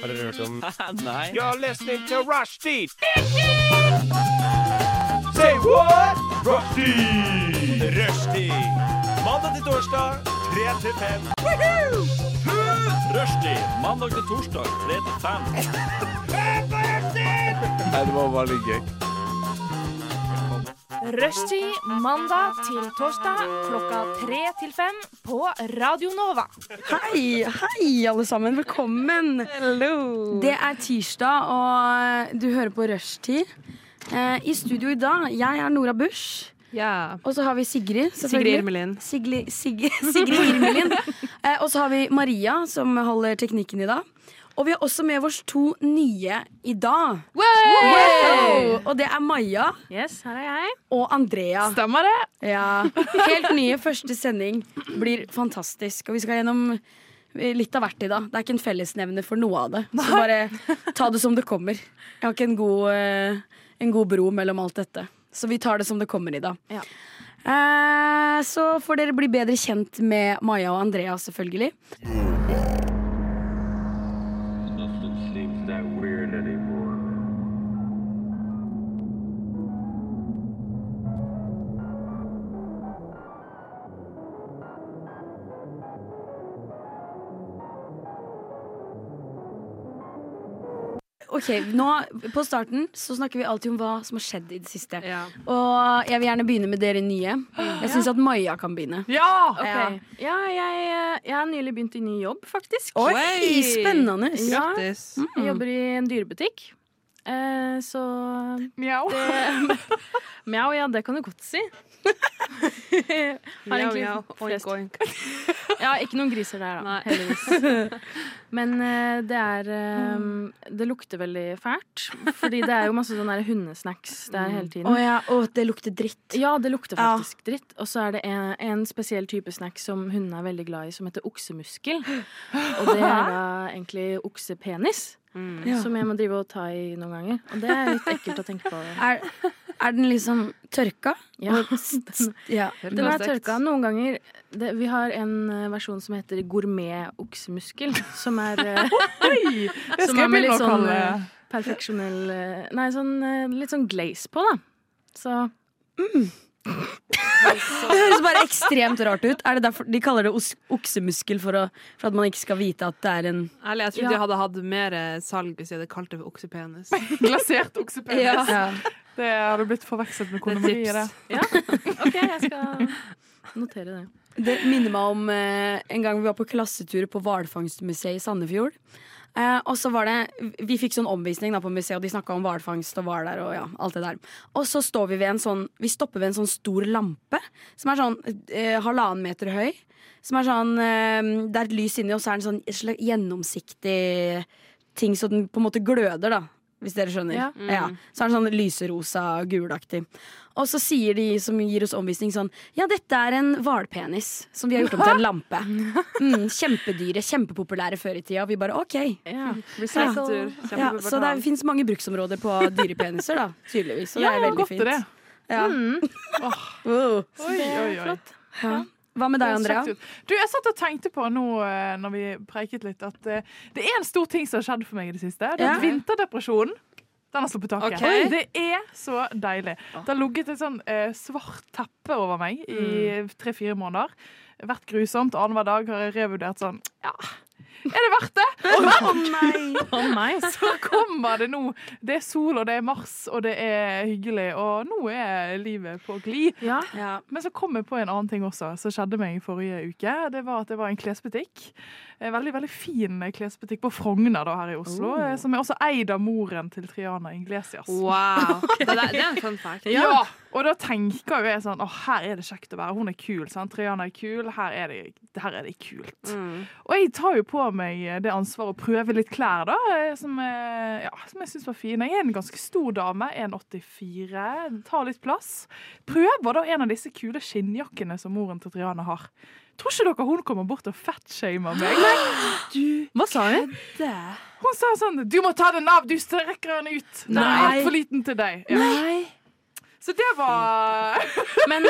Har dere hørt om Nei. You're listening to Rushdie. Say what? Rushdie. Rushdie. Mandag til torsdag, 3 til 5. Rushdie mandag til torsdag 3 til 5. Rushtid mandag til torsdag klokka tre til fem på Radio Nova. Hei, hei alle sammen. Velkommen. Det er tirsdag, og eh, du hører på Rushtid. Eh, I studio i dag, jeg er Nora Busch. Ja. Og så har vi Sigrid. Sigrid selvfølgelig. Irmelin. Sigli- Sig- Sigrid Irmelin. Eh, og så har vi Maria, som holder teknikken i dag. Og vi har også med oss to nye i dag. Wow! Ah. Og det er Maja Yes, her er jeg. og Andrea. Stemmer det? Ja. Helt nye første sending blir fantastisk. Og vi skal gjennom eh, litt av hvert i dag. Det er ikke en fellesnevner for noe av det. Så bare ta det som det kommer. Jeg har ikke en god, eh, en god bro mellom alt dette. Så vi tar det som det kommer i dag. Ja. Eh, så får dere bli bedre kjent med Maja og Andrea, selvfølgelig. Nothing seems that weird anymore. Ok, nå På starten så snakker vi alltid om hva som har skjedd i det siste. Ja. Og jeg vil gjerne begynne med dere nye. Jeg syns at Maja kan begynne. Ja! Ja. ja jeg, eh, jeg har nylig begynt i ny jobb, faktisk. Oi, spennende! Ja, Grattis. jeg jobber i en dyrebutikk. Eh, så Mjau. Det, mjau, ja, det kan du godt si. Har Mjau, egentlig mjau. flest- Oink, oink. Ja, ikke noen griser der, da. Nei. Heldigvis. Men eh, det er eh, Det lukter veldig fælt. Fordi det er jo masse sånne der hundesnacks der hele tiden. Å ja, å, det lukter dritt. Ja, det lukter Ja. faktisk dritt. Og så er det en, en spesiell type snack som hundene er veldig glad i, som heter oksemuskel. Og det er da egentlig oksepenis, Ja. som jeg må drive og ta i noen ganger. Og det er litt ekkelt å tenke på. Er, er den liksom tørka? Ja. Og s- s- ja. Den er tørka noen ganger. Det, vi har en eh, versjon som heter gourmet oksemuskel, som er eh, Det Som skal er jeg med begynne litt å sånn kalle eh, perfeksjonell eh, Nei, sånn, eh, litt sånn glaze på, da. Så Det høres bare ekstremt rart ut. Er det derfor De kaller det os oksemuskel for, å, for at man ikke skal vite at det er en Ærlig, jeg trodde Ja. jeg hadde hatt mer eh, salg hvis jeg hadde kalt det for oksepenis. Glasert oksepenis. Ja. Det har du blitt forvekslet med Det er kondomeri. tips. det. ja, OK, jeg skal notere det. Det minner meg om eh, en gang vi var på klassetur på hvalfangstmuseet i Sandefjord. Eh, og så var det Vi fikk sånn omvisning da på museet, og de snakka om hvalfangst og hval der. Og ja, alt det der Og så står vi ved en sånn Vi stopper ved en sånn stor lampe som er sånn eh, halvannen meter høy. Som er sånn eh, Det er et lys inni, og så er den sånn et slags gjennomsiktig ting, så den på en måte gløder, da. Hvis dere skjønner. Ja. Ja. Så er den sånn lyserosa, gulaktig. Og så sier de som gir oss omvisning sånn Ja, dette er en hvalpenis som vi har gjort om til en lampe. Mm, kjempedyre, kjempepopulære før i tida. Og vi bare OK. Ja. Recycle. Ja, så det fins mange bruksområder på dyrepeniser, da. Tydeligvis. Og det er Ja, veldig godt fint. er det. Ja. Mm. Wow. Oi, oi, oi. Eh, Flott. Ja. Hva med Det deg, er Andrea? søtt ut. Du, jeg satt og tenkte på nå eh, når vi preiket litt, at eh, det er en stor ting som har skjedd for meg i det siste. Det Ja. er Vinterdepresjonen. Den har sluppet taket. Ok. Det er så deilig. Det har ligget et sånn eh, svart teppe over meg i Mm. tre-fire måneder. Vært grusomt. Annenhver dag har jeg revurdert sånn Ja, er det verdt det? Oh, nice. Så kommer det nå. Det er sol, og det er mars, og det er hyggelig. Og nå er livet på glid. Ja. Ja. Men så kom jeg på en annen ting også som skjedde meg i forrige uke. Det var at det var en klesbutikk. En veldig veldig fin klesbutikk på Frogner da, her i Oslo. eh, Som er også eid av moren til Triana Inglesias. Wow. Det, der, det er en fun fact. Ja. Og da tenker jo jeg sånn Å, her er det kjekt å være. Hun er kul. sant? Triana er kul. Her er det, her er det kult. Mm. Og jeg tar jo på meg eh, det ansvaret å prøve litt klær, da, som, eh, ja, som jeg syns var fine. Jeg er en ganske stor dame, 1,84, tar litt plass. Prøver da en av disse kule skinnjakkene som moren til Triana har. Tror ikke dere hun kommer bort og fatshamer meg? Hva sa hun? Hun sa sånn 'Du må ta den av! Du strekker den ut! Den er Nei. altfor liten til deg'. Ja. Så det var Men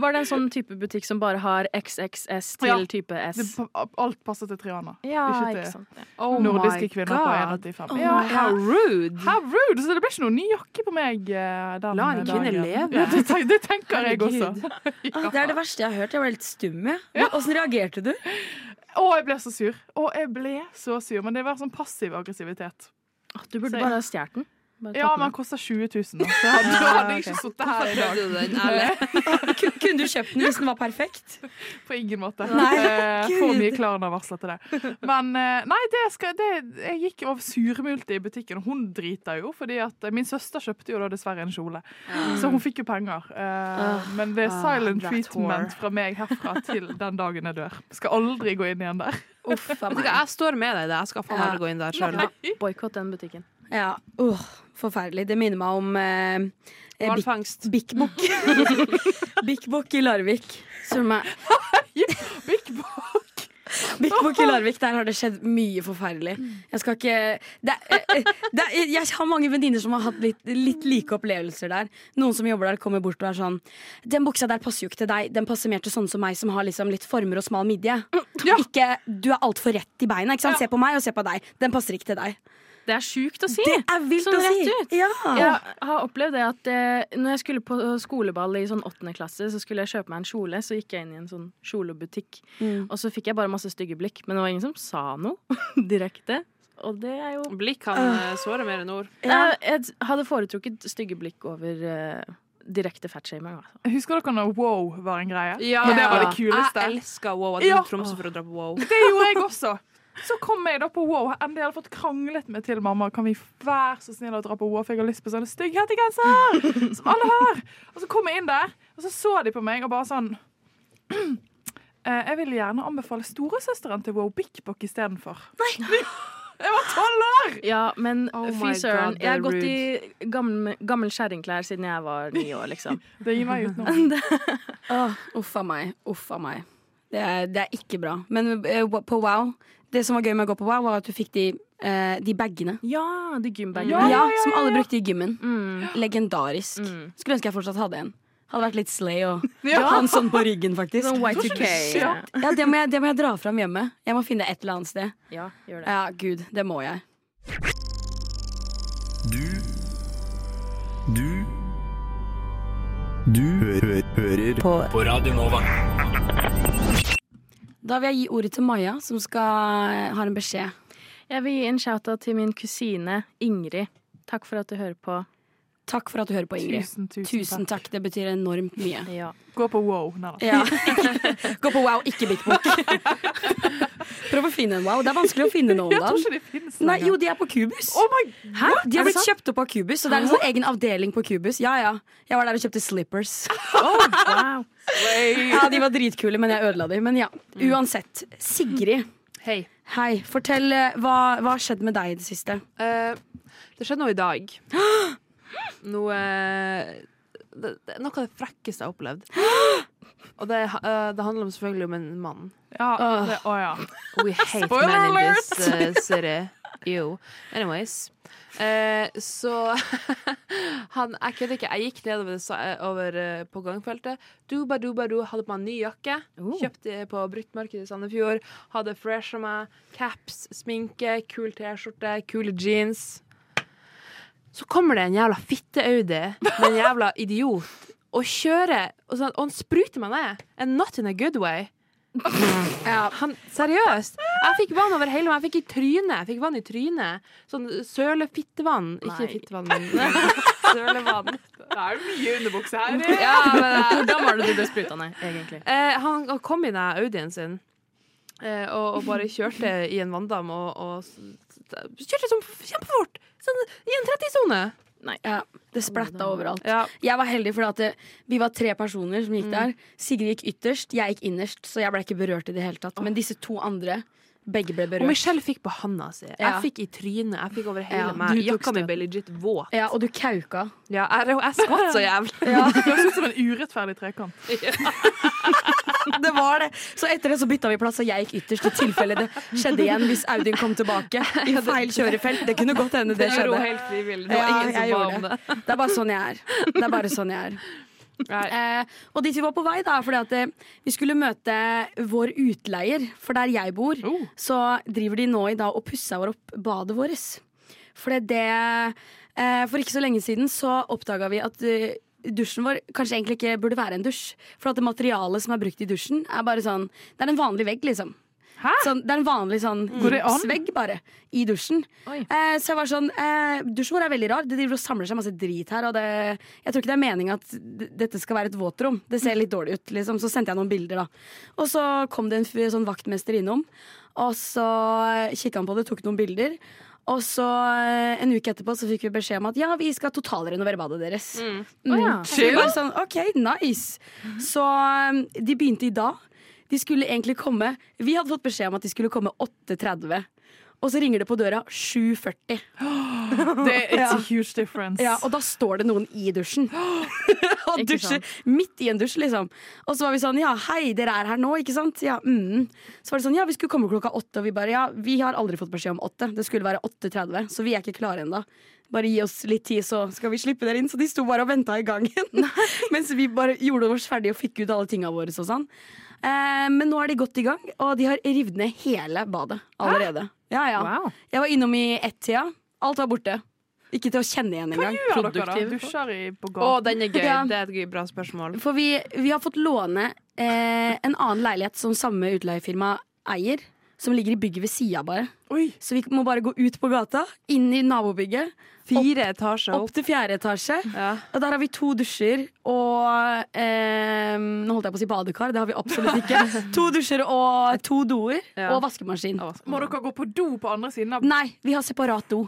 var det en sånn type butikk som bare har XXS til Ja. type S? det, Alt passer til Triana. Ja, ikke til- ikke sant. Ja. Oh Nordiske my kvinner God. på 1,85. Oh ja. my- How rude! How rude! Så det ble ikke noen ny jakke på meg eh, den La en kvinne dagen. leve. Ja, det, tenk- det tenker jeg også. Herregud. Det er det verste jeg har hørt. Jeg var helt stum. jeg. Åssen reagerte du? Å, jeg ble så sur. Å, jeg ble så sur. Men det var sånn passiv aggressivitet. Du burde Så- bare ha stjålet den. Bare Ja, tatt den men den med. kosta 20 000, da. Så da hadde jeg ikke sittet her i dag. Prøvde du den, ærlig? Kun- Kunne du kjøpt den hvis den var perfekt? På ingen måte. Nei, Eh, For Gud. mye Klarna-varsler til det. Men eh, nei, det skal det, Jeg gikk over surmulte i butikken, og hun drita jo, fordi at eh, min søster kjøpte jo da dessverre en kjole. Så hun fikk jo penger. Eh, men det er ah, silent that whore. treatment fra meg herfra til den dagen jeg dør. Skal aldri gå inn igjen der. Uff a Vet du meg. hva, Jeg står med deg i det. Jeg skal faen Ja. aldri gå inn der sjøl. Boikott den butikken. Ja, åh, forferdelig. Det minner meg om eh, eh, Bik- Hvalfangst. Bik Bok. Bik Bok i Larvik. Som er Big Boy. Bik Bok i Larvik, der har det skjedd mye forferdelig. Jeg skal ikke det, er- eh, det, er- Jeg har mange venninner som har hatt litt, litt like opplevelser der. Noen som jobber der, kommer bort og er sånn Den buksa der passer jo ikke til deg. Den passer mer til sånne som meg, som har liksom litt former og smal midje. Ikke, du er altfor rett i beina. Ikke sant? Se på meg og se på deg. Den passer ikke til deg. Det er sjukt å si! Det er vilt Sånn å si! rett ut. Ja. Jeg har opplevd det at eh, når jeg skulle på skoleball i sånn åttende klasse, så skulle jeg kjøpe meg en kjole, så gikk jeg inn i en sånn kjolebutikk. Mm. Og så fikk jeg bare masse stygge blikk, men det var ingen som sa noe direkte. Og det er jo Blikk kan eh, såre mer enn ord. Jeg, jeg hadde foretrukket stygge blikk over eh, direkte fatshaming. Altså. Husker dere når wow var en greie? Ja. Når det var det kuleste. Jeg elsker wow. Jeg dro Ja. til Tromsø for å dra på wow. Det gjorde jeg også. Så kom jeg da på wow. Endelig hadde jeg fått kranglet med til mamma. Kan vi være så snill å dra på wow, for jeg har lyst på sånne stygghettegenser som alle har. Og så kom jeg inn der, og så så de på meg og bare sånn «Eh, Jeg vil gjerne anbefale storesøsteren til wow Bik Bok istedenfor. Jeg var tolv år! Ja, men Oh my fy søren. God, det Jeg har er gått i gammel, gammel kjerringklær siden jeg var ni år, liksom. Det gir meg utenom. Åh, uff a meg. Uff a meg. Det er, det er ikke bra. Men eh, på Wow Det som var gøy med å gå på Wow, var at du fikk de, eh, de bagene. Ja, de gymbagene. Ja, ja, ja, som alle ja. brukte i gymmen. Mm. Legendarisk. Mm. Skulle ønske jeg fortsatt hadde en. Hadde vært litt slay og Ja. ha en sånn på ryggen, faktisk. Sånn Y2K. Ja. Ja, det må, jeg, det må jeg dra fram hjemme. Jeg må finne et eller annet sted. ja, gjør det. Ja, gud, det må jeg. Du Du Du hø hø hører på. på Radio Nova. Da vil jeg gi ordet til Maja, som skal eh, har en beskjed. Jeg vil gi en shout-out til min kusine Ingrid. Takk for at du hører på. Takk for at du hører på, Ingrid. Tusen, tusen Tusen takk. takk. Det betyr enormt mye. Ja. Gå på wow. Nei, da. Ja. Gå på wow, ikke Big Book. Prøv å finne en wow. Det er vanskelig å finne noen Jeg tror da. ikke de finnes Nei, lenger. jo, de er på Cubus. Oh my Hæ? De har Er det blitt kjøpt opp av Cubus, så det er en sånn egen avdeling på Cubus. Ja, ja. Jeg var der og kjøpte slippers. Wow. Ja, De var dritkule, men jeg ødela de. Men ja, Mm. uansett. Sigrid. Hei. Hei. Fortell, eh, hva hva har skjedd med deg i det siste? Eh, det skjedde noe i dag. Noe eh, det, det, er Noe av det frekkeste jeg har opplevd. Og det, eh, det handler om, selvfølgelig om en mann. Ja, det, å ja. We hate Spoiler men in this eh, city. Ew. Anyways. Eh, så han, Jeg kødder ikke. Jeg gikk nedover det sa- over, eh, på gangfeltet. Duba, duba, du hadde på meg ny jakke. Kjøpte på bruktmarkedet i Sandefjord. Hadde fresha meg. Caps, sminke, kul T-skjorte, kule jeans. Så kommer det en jævla fitte-Audi med en jævla idiot og kjører, og, sånn, og han spruter meg ned. And not in a good way. Han, seriøst! Jeg fikk vann over hele meg. Jeg fikk i trynet. Jeg fikk vann i trynet. Sånn sølefittevann. Ikke Nei. fittevann, men sølevann. Det er mye underbukse her. Ja, men, eh, Hvordan var det du ble spruta ned, egentlig? eh, han kom i den her Audien sin eh, og, og bare kjørte i en vanndam og, og s- s- kjørte sånn kjempefort! Sånn, I en 30-sone. Ja, Det splatta overalt. Ja. Jeg var heldig fordi at det, vi var tre personer som Mm. gikk der. Sigrid gikk ytterst, jeg gikk innerst, så jeg ble ikke berørt i det hele tatt. Men disse to andre, begge ble Og berørt. Michelle fikk på handa si. Jeg Ja. fikk i trynet. Jeg fikk over hele Ja, meg. du tok Jakka mi støten. ble legit våt. Ja, og du kauka. Ja, jeg jeg skvatt så jævlig. Det høres ut som en urettferdig trekant. Det var det. Så etter det så bytta vi plass, og jeg gikk ytterst i tilfelle det skjedde igjen hvis Audien kom tilbake i feil kjørefelt. Det kunne godt hende det ro skjedde. helt frivillig. Det var Ja, ingen jeg som ba om gjorde det. det. Det er bare sånn jeg er. Det er bare sånn jeg er. Eh, og dit vi var på vei, da, er fordi at eh, vi skulle møte vår utleier. For der jeg bor, Oh. så driver de nå i dag og pusser opp badet vårt. For det, det eh, For ikke så lenge siden så oppdaga vi at eh, dusjen vår kanskje egentlig ikke burde være en dusj. For at det materialet som er brukt i dusjen, er bare sånn Det er en vanlig vegg, liksom. Hæ? Sånn, det er en vanlig sånn Går det an? gipsvegg bare i dusjen. Oi. Eh, så jeg var sånn eh, Dusjen vår er veldig rar. Det driver og samler seg masse drit her. Og det, jeg tror ikke det er meninga at d- dette skal være et våtrom. Det ser litt dårlig ut. Liksom. Så sendte jeg noen bilder, da. Og så kom det en f- sånn vaktmester innom, og så kikka han på det, tok noen bilder. Og så eh, En uke etterpå så fikk vi beskjed om at ja, vi skal totalrenovere badet deres. Mm. ja. Mhm. Så vi bare sånn, ok, nice Så um, de begynte i dag De skulle egentlig komme Vi hadde fått beskjed om at de skulle komme 8.30 Og så ringer det på døra 7.40 Det er a huge difference. ja, Og da står det noen i dusjen Og Ikke dusjer sant. midt i en dusj liksom Og så var vi sånn, ja hei, dere er her nå, ikke sant? Ja, mm. Så var det sånn, ja vi skulle komme klokka 8 Og vi bare, ja, vi har aldri fått beskjed om 8 Det skulle være 8.30, så vi er ikke klare enda bare gi oss litt tid, så skal vi slippe dere inn. Så de sto bare og venta i gangen. Mens vi bare gjorde oss ferdige og fikk ut alle tinga våre. og sånn. Eh, men nå er de godt i gang, og de har revet ned hele badet allerede. Ja, ja. Wow. Jeg var innom i ett-tida. Alt var borte. Ikke til å kjenne igjen engang. Gjør dere da? Produktive. Dusjer i på Å, gaten? den er gøy. Ja. Det er et gøy, bra spørsmål. For vi, vi har fått låne eh, en annen leilighet som samme utleiefirma eier. Som ligger i bygget ved sida, bare. Oi, Så vi må bare gå ut på gata, inn i nabobygget, Fire etasjer opp opp. til fjerde etasje. Ja. Og der har vi to dusjer og eh, Nå holdt jeg på å si badekar, det har vi absolutt ikke. To dusjer og to doer Ja. og vaskemaskin. må dere gå på do på andre siden av Nei, vi har separat do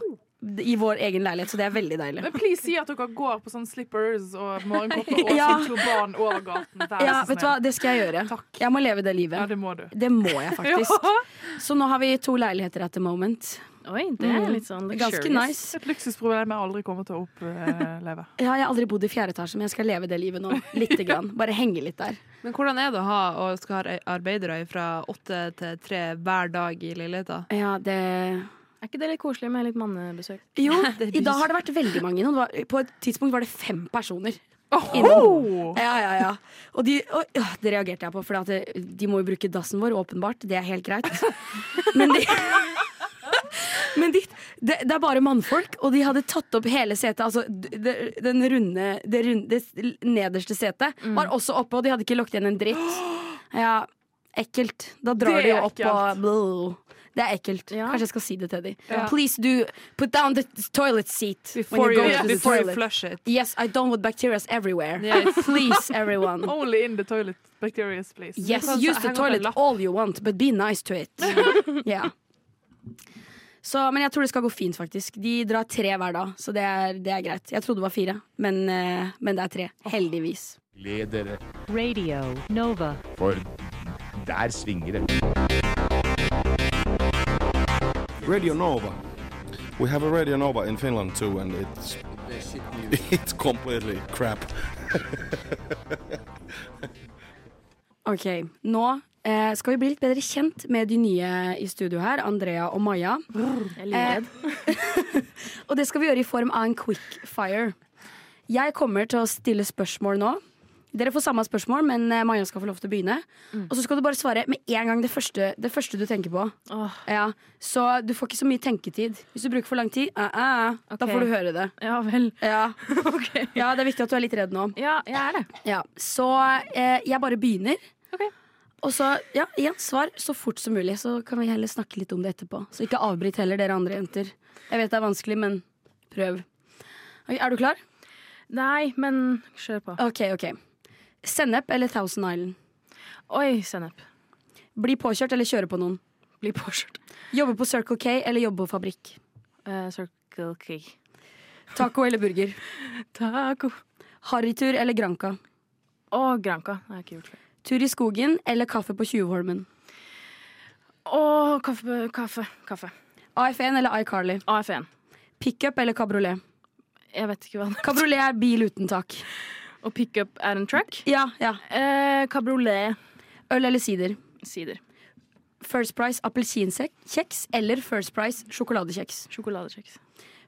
i vår egen leilighet, så det er veldig deilig. Men please si at dere går på sånn slippers og morgenkåpe og Ja. sitt turban over gaten. Vær Ja, så vet du hva, snill. det skal jeg gjøre. Takk. Jeg må leve det Ja, livet. det må du. Det må jeg faktisk. Ja, Så nå har vi to leiligheter at the moment. Oi, det er litt sånn Ganske luxurious. nice. et luksusproblem jeg aldri kommer til å oppleve. Ja, jeg har aldri bodd i fjerde etasje, men jeg skal leve det livet nå. Lite grann. Bare henge litt der. Men hvordan er det å ha og skal ha arbeidere fra åtte til tre hver dag i leiligheta? Ja, det Er ikke det litt koselig med litt mannebesøk? Jo, i dag har det vært veldig mange innom. Det var- På et tidspunkt var det fem personer. Oho! Ja, ja, ja. Og, de, og ja, det reagerte jeg på, for de må jo bruke dassen vår, åpenbart. Det er helt greit. Men de Men de, det, det er bare mannfolk, og de hadde tatt opp hele setet. Altså, det, den runde, det, runde, det nederste setet Mm. var også oppe, og de hadde ikke lukket igjen en dritt. Ja, ekkelt. Da drar Det de er jo opp og Blah. Det er ekkelt. Ja. Kanskje jeg skal si det til dem. Please do put down the toilet seat Before you, to the before you toilet. flush it. Yes, I don't want bacterias everywhere. Yes. Please, everyone. Only in the toilet. Bacterias, please. Yes, kan use henge the opp en toilet lapp. all you want, but be nice to it. yeah. Så, men jeg tror det skal gå fint, faktisk. De drar tre hver dag, så det er, det er greit. Jeg trodde det var fire, men, eh, men det er tre. Heldigvis. Ledere, Radio Nova. for der svinger det. Radio Nova. We have a Radio Nova in Finland too, and it's it's completely crap. Ok, nå eh, skal vi bli litt bedre kjent med de nye i studio her, Andrea og Maja. Eh, Jeg er livredd. Og det skal vi gjøre i form av en quickfire. Jeg kommer til å stille spørsmål nå. Dere får samme spørsmål, men eh, Maja skal få lov til å begynne. Mm. Og så skal du bare svare med en gang det første, det første du tenker på. Åh, Ja, Så du får ikke så mye tenketid. Hvis du bruker for lang tid, eh, eh, eh, da Ok. får du høre det. ja vel. Ja. Ok. ja, det er viktig at du er litt redd nå. Ja, jeg er det. Ja, Så eh, jeg bare begynner. Ok. Og så, ja, igjen, svar så fort som mulig. Så kan vi heller snakke litt om det etterpå. Så ikke avbryt heller, dere andre jenter. Jeg vet det er vanskelig, men prøv. Ok, er du klar? Nei, men kjør på. Ok, ok. Sennep eller Thousand Island? Oi, sennep. Bli påkjørt eller kjøre på noen? Blir påkjørt. Jobbe på Circle K eller jobbe på fabrikk? Eh, Circle K. Taco eller burger? Taco. Harrytur eller Granca? Og Granca. Det har jeg ikke gjort før. Tur i skogen eller kaffe på Tjuvholmen? Og kaffe, kaffe. kaffe. AF1 eller iCarly? AF1. Pickup eller kabriolet? Jeg vet ikke hva det er. Kabriolet er bil uten tak. Og pickup er en truck. Ja, ja. Eh, Kabriolet. Øl eller sider? Sider. First Price appelsinkjeks eller First Price sjokoladekjeks? Sjokoladekjeks.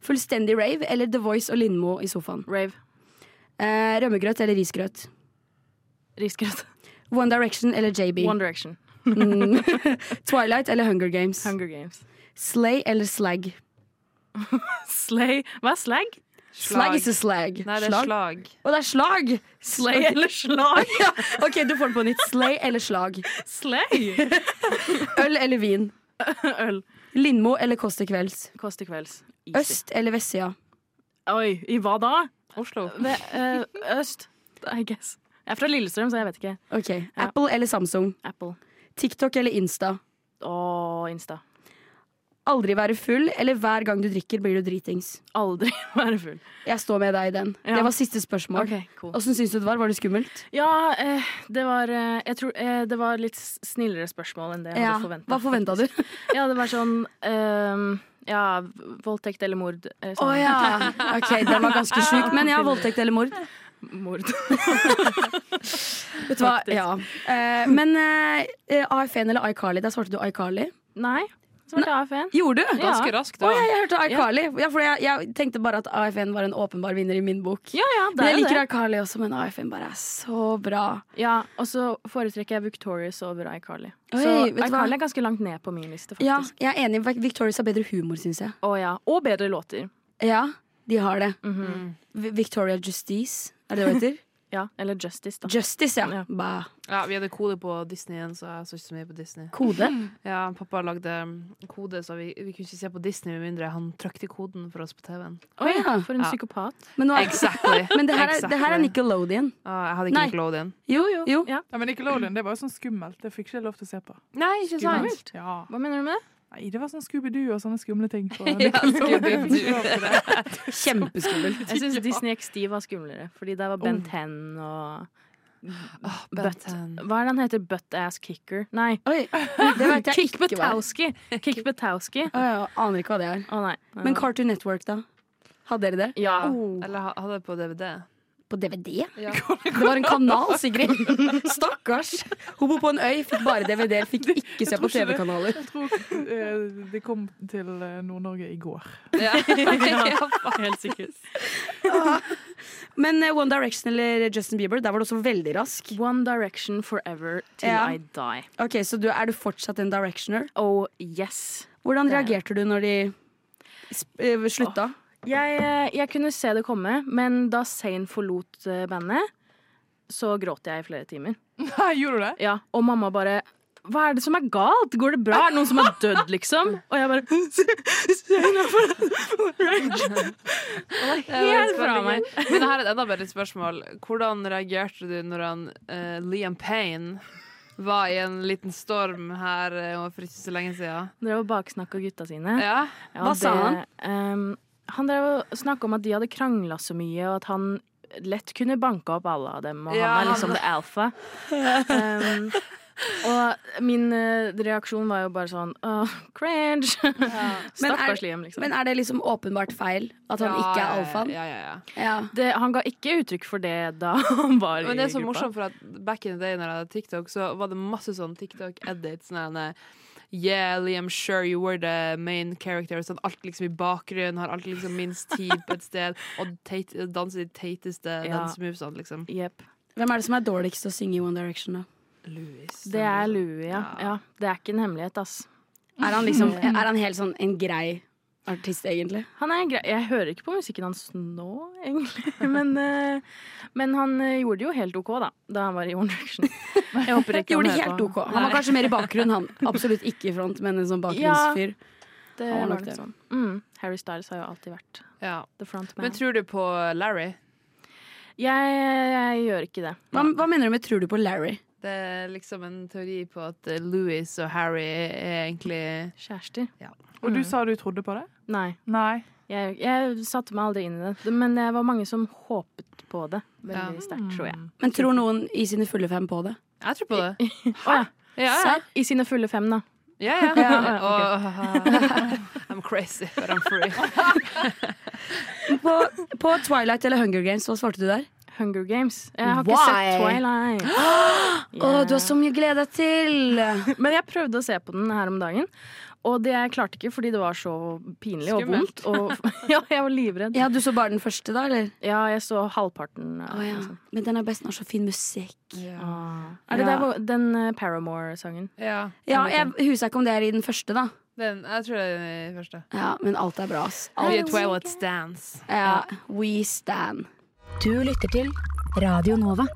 Fullstendig rave eller The Voice og Lindmo i sofaen? Rave. Eh, rømmegrøt eller risgrøt? Risgrøt. One Direction eller JB? One Direction. Mm. Twilight eller Hunger Games? Hunger Games. Slay eller slag? Slay. Hva er slag? Slag is a slag. Nei, det er slag. Å, det er slag! Slay eller slag? ja. OK, du får den på nytt. Slay eller slag? Slay! Øl eller vin? Øl. Lindmo eller Kåss til kvelds? Kåss til kvelds. Easy. Øst eller vestsida? Oi, i hva da? Oslo. Det, eh, øst, I guess. Jeg er fra Lillestrøm, så jeg vet ikke. Ok, Apple eller Samsung? Apple. TikTok eller Insta? Og Insta. Aldri være full, eller hver gang du drikker blir du dritings? Aldri være full. Jeg står med deg i den. Ja. Det var siste spørsmål. Ok, cool. Åssen syns du det var? Var det skummelt? Ja, eh, det var eh, Jeg tror eh, det var litt s- snillere spørsmål enn det jeg Ja, hadde forventa. Hva forventa du? Ja, det var sånn eh, Ja, voldtekt eller mord. eh, Å sånn. ja. Ok, den var ganske sjuk. Men ja, voldtekt eller mord. Mord. Vet du hva? Ja. Eh, men eh, AFN eller iCarly? Der svarte du iCarly. Nei, så var det AFN. Gjorde du? Ganske raskt, da. Å, ja, jeg hørte iCarly. Ja, for jeg, jeg tenkte bare at AFN var en åpenbar vinner i min bok. Ja, ja, det Men er jeg jo liker det. iCarly også, men AFN bare er så bra. Ja, og så foretrekker jeg Victorious over iCarly. Oi, så vet du hva? iCarly er ganske langt ned på min liste, Ja, faktisk. jeg er enig. Victorious har bedre humor, syns jeg. Å ja. Og bedre låter. Ja, de har det. Mhm. Vi- Victoria Justice, er det det hun heter? Ja, Eller Justice, da. Justice, ja. Ja. Bah. Ja, vi hadde kode på Disney igjen, så jeg så ikke så mye på Disney. Kode. Mm. Ja, pappa lagde um, kode, så vi, vi kunne ikke se på Disney med mindre han trykte koden for oss på TV-en. Å ja. For en Ja. psykopat. Men, nå er, Exactly. Ah. men det, her er, det her er Exactly. Nickelodeon. Ja, jeg hadde ikke Nei. Nickelodeon. Jo, jo. jo. Ja. Ja, men Nickelodeon, det var jo sånn skummelt. Det fikk ikke jeg lov til å se på. Nei, ikke sant? Skummelt? Ja. Hva mener du med det? Nei, det var sånn Scooby-Doo og sånne skumle ting. På Ja, Nickelodeon. Scooby-Doo. Kjempeskummelt. Jeg syns Disney XD var skumlere, fordi der var Oh. Ben 10 og Åh, Butt. Ben 10. Hva er det han heter? Butt-ass kicker? Nei. Oi, det vet jeg Kick ikke hva er. Batowski! Kick Batowski. Å, ja, aner ikke hva det er. Å nei. Men Cartoon Network, da? Hadde dere det? ja. Oh. Eller ha- hadde det på DVD. På DVD? Ja. Det var en kanal, Sigrid! Stakkars! Hun bor på en øy, fikk bare DVD-er, fikk ikke se på tror ikke det. TV-kanaler. Jeg tror eh, de kom til eh, Nord-Norge i går. Helt sikkert. Men eh, One Direction eller Justin Bieber, der var du også veldig rask. One Direction forever till Ja. I die. Ok, Så du, er du fortsatt en directioner? Oh yes. Hvordan Det er jeg. reagerte du når de sp- eh, slutta? Jeg, eh, jeg kunne se det komme, men da Zain forlot eh, bandet, så gråt jeg i flere timer. Nei, gjorde du det? Ja, og mamma bare Hva er det som er galt? Går det bra? Er det noen som har dødd, liksom? Og jeg bare Zain er forlatt Helt fra meg. Men her er et enda bedre spørsmål. Hvordan reagerte du når han, eh, Liam Payne var i en liten storm her eh, for ikke så lenge siden? Drev og baksnakka gutta sine. Ja. Ja, Hva sa han? ehm, han drev og snakka om at de hadde krangla så mye, og at han lett kunne banka opp alle av dem, og Ja, han er liksom han- the alpha. Ehm, og min eh, reaksjon var jo bare sånn åh, cringe. Men er- Stakkars Liam, liksom. Men er det liksom åpenbart feil at han Ja, ikke er ja, alfaen? Ja, ja, ja. Ja. det, han ga ikke uttrykk for det da han var Men det er så i gruppa. morsomt, for at back in the day når jeg hadde TikTok, så var det masse sånn TikTok-edits. sånn her, Yeah, Liam, sure you were the main character. Sånn, alt liksom i bakgrunnen, har alltid liksom minst tid på et sted. Og teit, danser de teiteste Ja. dansemovesene, liksom. Jep. Hvem er det som er dårligst til å synge i One Direction, da? Louis. Det er Louie, ja. ja. Det er ikke en hemmelighet, ass. Er han liksom Er han helt sånn en grei artist, egentlig? Han er en grei Jeg hører ikke på musikken hans nå, egentlig. Men, eh, men han eh, gjorde det jo helt OK, da. Da han var i One Direction. Jeg håper ikke Gjorde han det hører helt på. OK. Han var kanskje mer i bakgrunnen, han. Absolutt ikke i front, men en sånn bakgrunnsfyr. Det Han var var nok nok det. sånn. Mm. Harry Styles har jo alltid vært Ja. the front man. Men tror du på Larry? jeg, jeg gjør ikke det. Hva, hva mener du med 'tror du på Larry'? Det er liksom en teori på at eh, Louis og Harry er egentlig Kjærester? Og du sa du trodde på det? Nei. Nei. Jeg, jeg satte meg aldri inn i det. Men det var mange som håpet på det Ja. veldig sterkt, tror jeg. Men tror noen i sine fulle fem på det? Jeg tror på det. Å ja. Ja, ja. I sine fulle fem, da. ja, ja. Og- I'm crazy, but I'm free. På, på Twilight eller Hunger Games, hva svarte du der? Hunger Games. Jeg har ikke Why? sett Twilight. Åh, du har så mye å glede deg til! Men jeg prøvde å se på den her om dagen, og det jeg klarte ikke fordi det var så pinlig Skummelt. og vondt. Og, ja, jeg var livredd. Ja, Du så bare den første, da? eller? Ja, jeg så halvparten. av Å ja. den. Men den er best når det er så fin musikk. Er det Ja. der hvor- den eh, Paramore-sangen? Ja. Ja, jeg husker ikke om det er i den første, da. Den, jeg tror det er den i første. Ja, Men alt er bra, ass. Mye Alt. Twilight Stance. Ja, we stand. Du lytter til Radio Nova.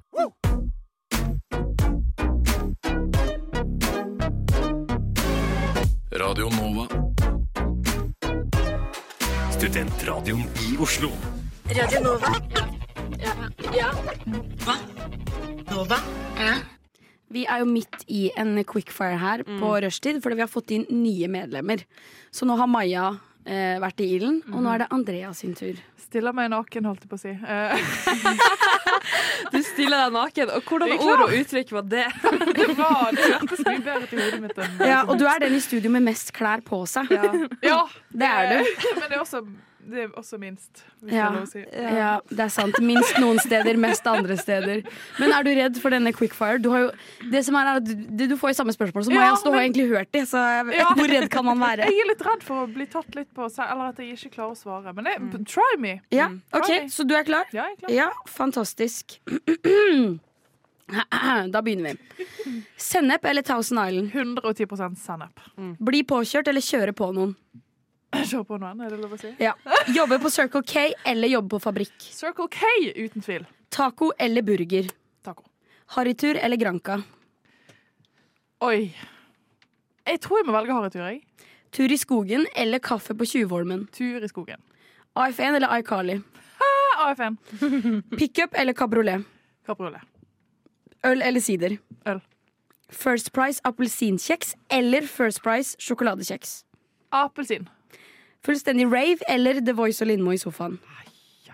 Radio Nova. Studentradioen i Oslo. Radio Nova. Ja. Hva? Nova? Vi er jo midt i en quickfire her på Mm. rushtid, fordi vi har fått inn nye medlemmer. Så nå har Maja eh, vært i ilden, og Mm. nå er det Andreas sin tur. Stiller meg naken, holdt jeg på å si. Eh, Du stiller deg naken. Og hvordan Det er ord klart. og uttrykk var det? det var det hørtes mye bedre ut i hodet mitt enn Ja, og du er den i studio med mest klær på seg. Ja. Ja, Eh, Det er du. Men det er også, det er også minst, hvis det Ja, er lov å si. ja, det er sant. Minst noen steder, mest andre steder. Men er du redd for denne quickfire? Du, har jo, det som er, er at du, du får jo samme spørsmål som meg, Ja, så du har men- egentlig hørt det. Så jeg, Ja. hvor redd kan man være? Jeg er litt redd for å bli tatt litt på seg, eller at jeg ikke klarer å svare. Men jeg, try me. Ja, Try Mm. ok, me. så du er klar? Ja, jeg er klar. Ja, fantastisk. Da begynner vi. Sennep eller Thousand Island? 110 sennep. Bli påkjørt eller kjøre på noen? Kjør på noen, er det lov å si? Ja. Jobbe på Circle K eller jobbe på fabrikk? Circle K, uten tvil. Taco eller burger? Taco. Harrytur eller Granca? Oi. Jeg tror jeg må velge harrytur, jeg. Tur i skogen eller kaffe på Tjuvholmen? Tur i skogen. AF1 eller iCarly? Ah, AFN. Pickup eller kabriolet? Kapriolet. Øl eller sider? Øl. First Price appelsinkjeks eller First Price sjokoladekjeks? Appelsin. Fullstendig rave eller The Voice og Lindmo i sofaen?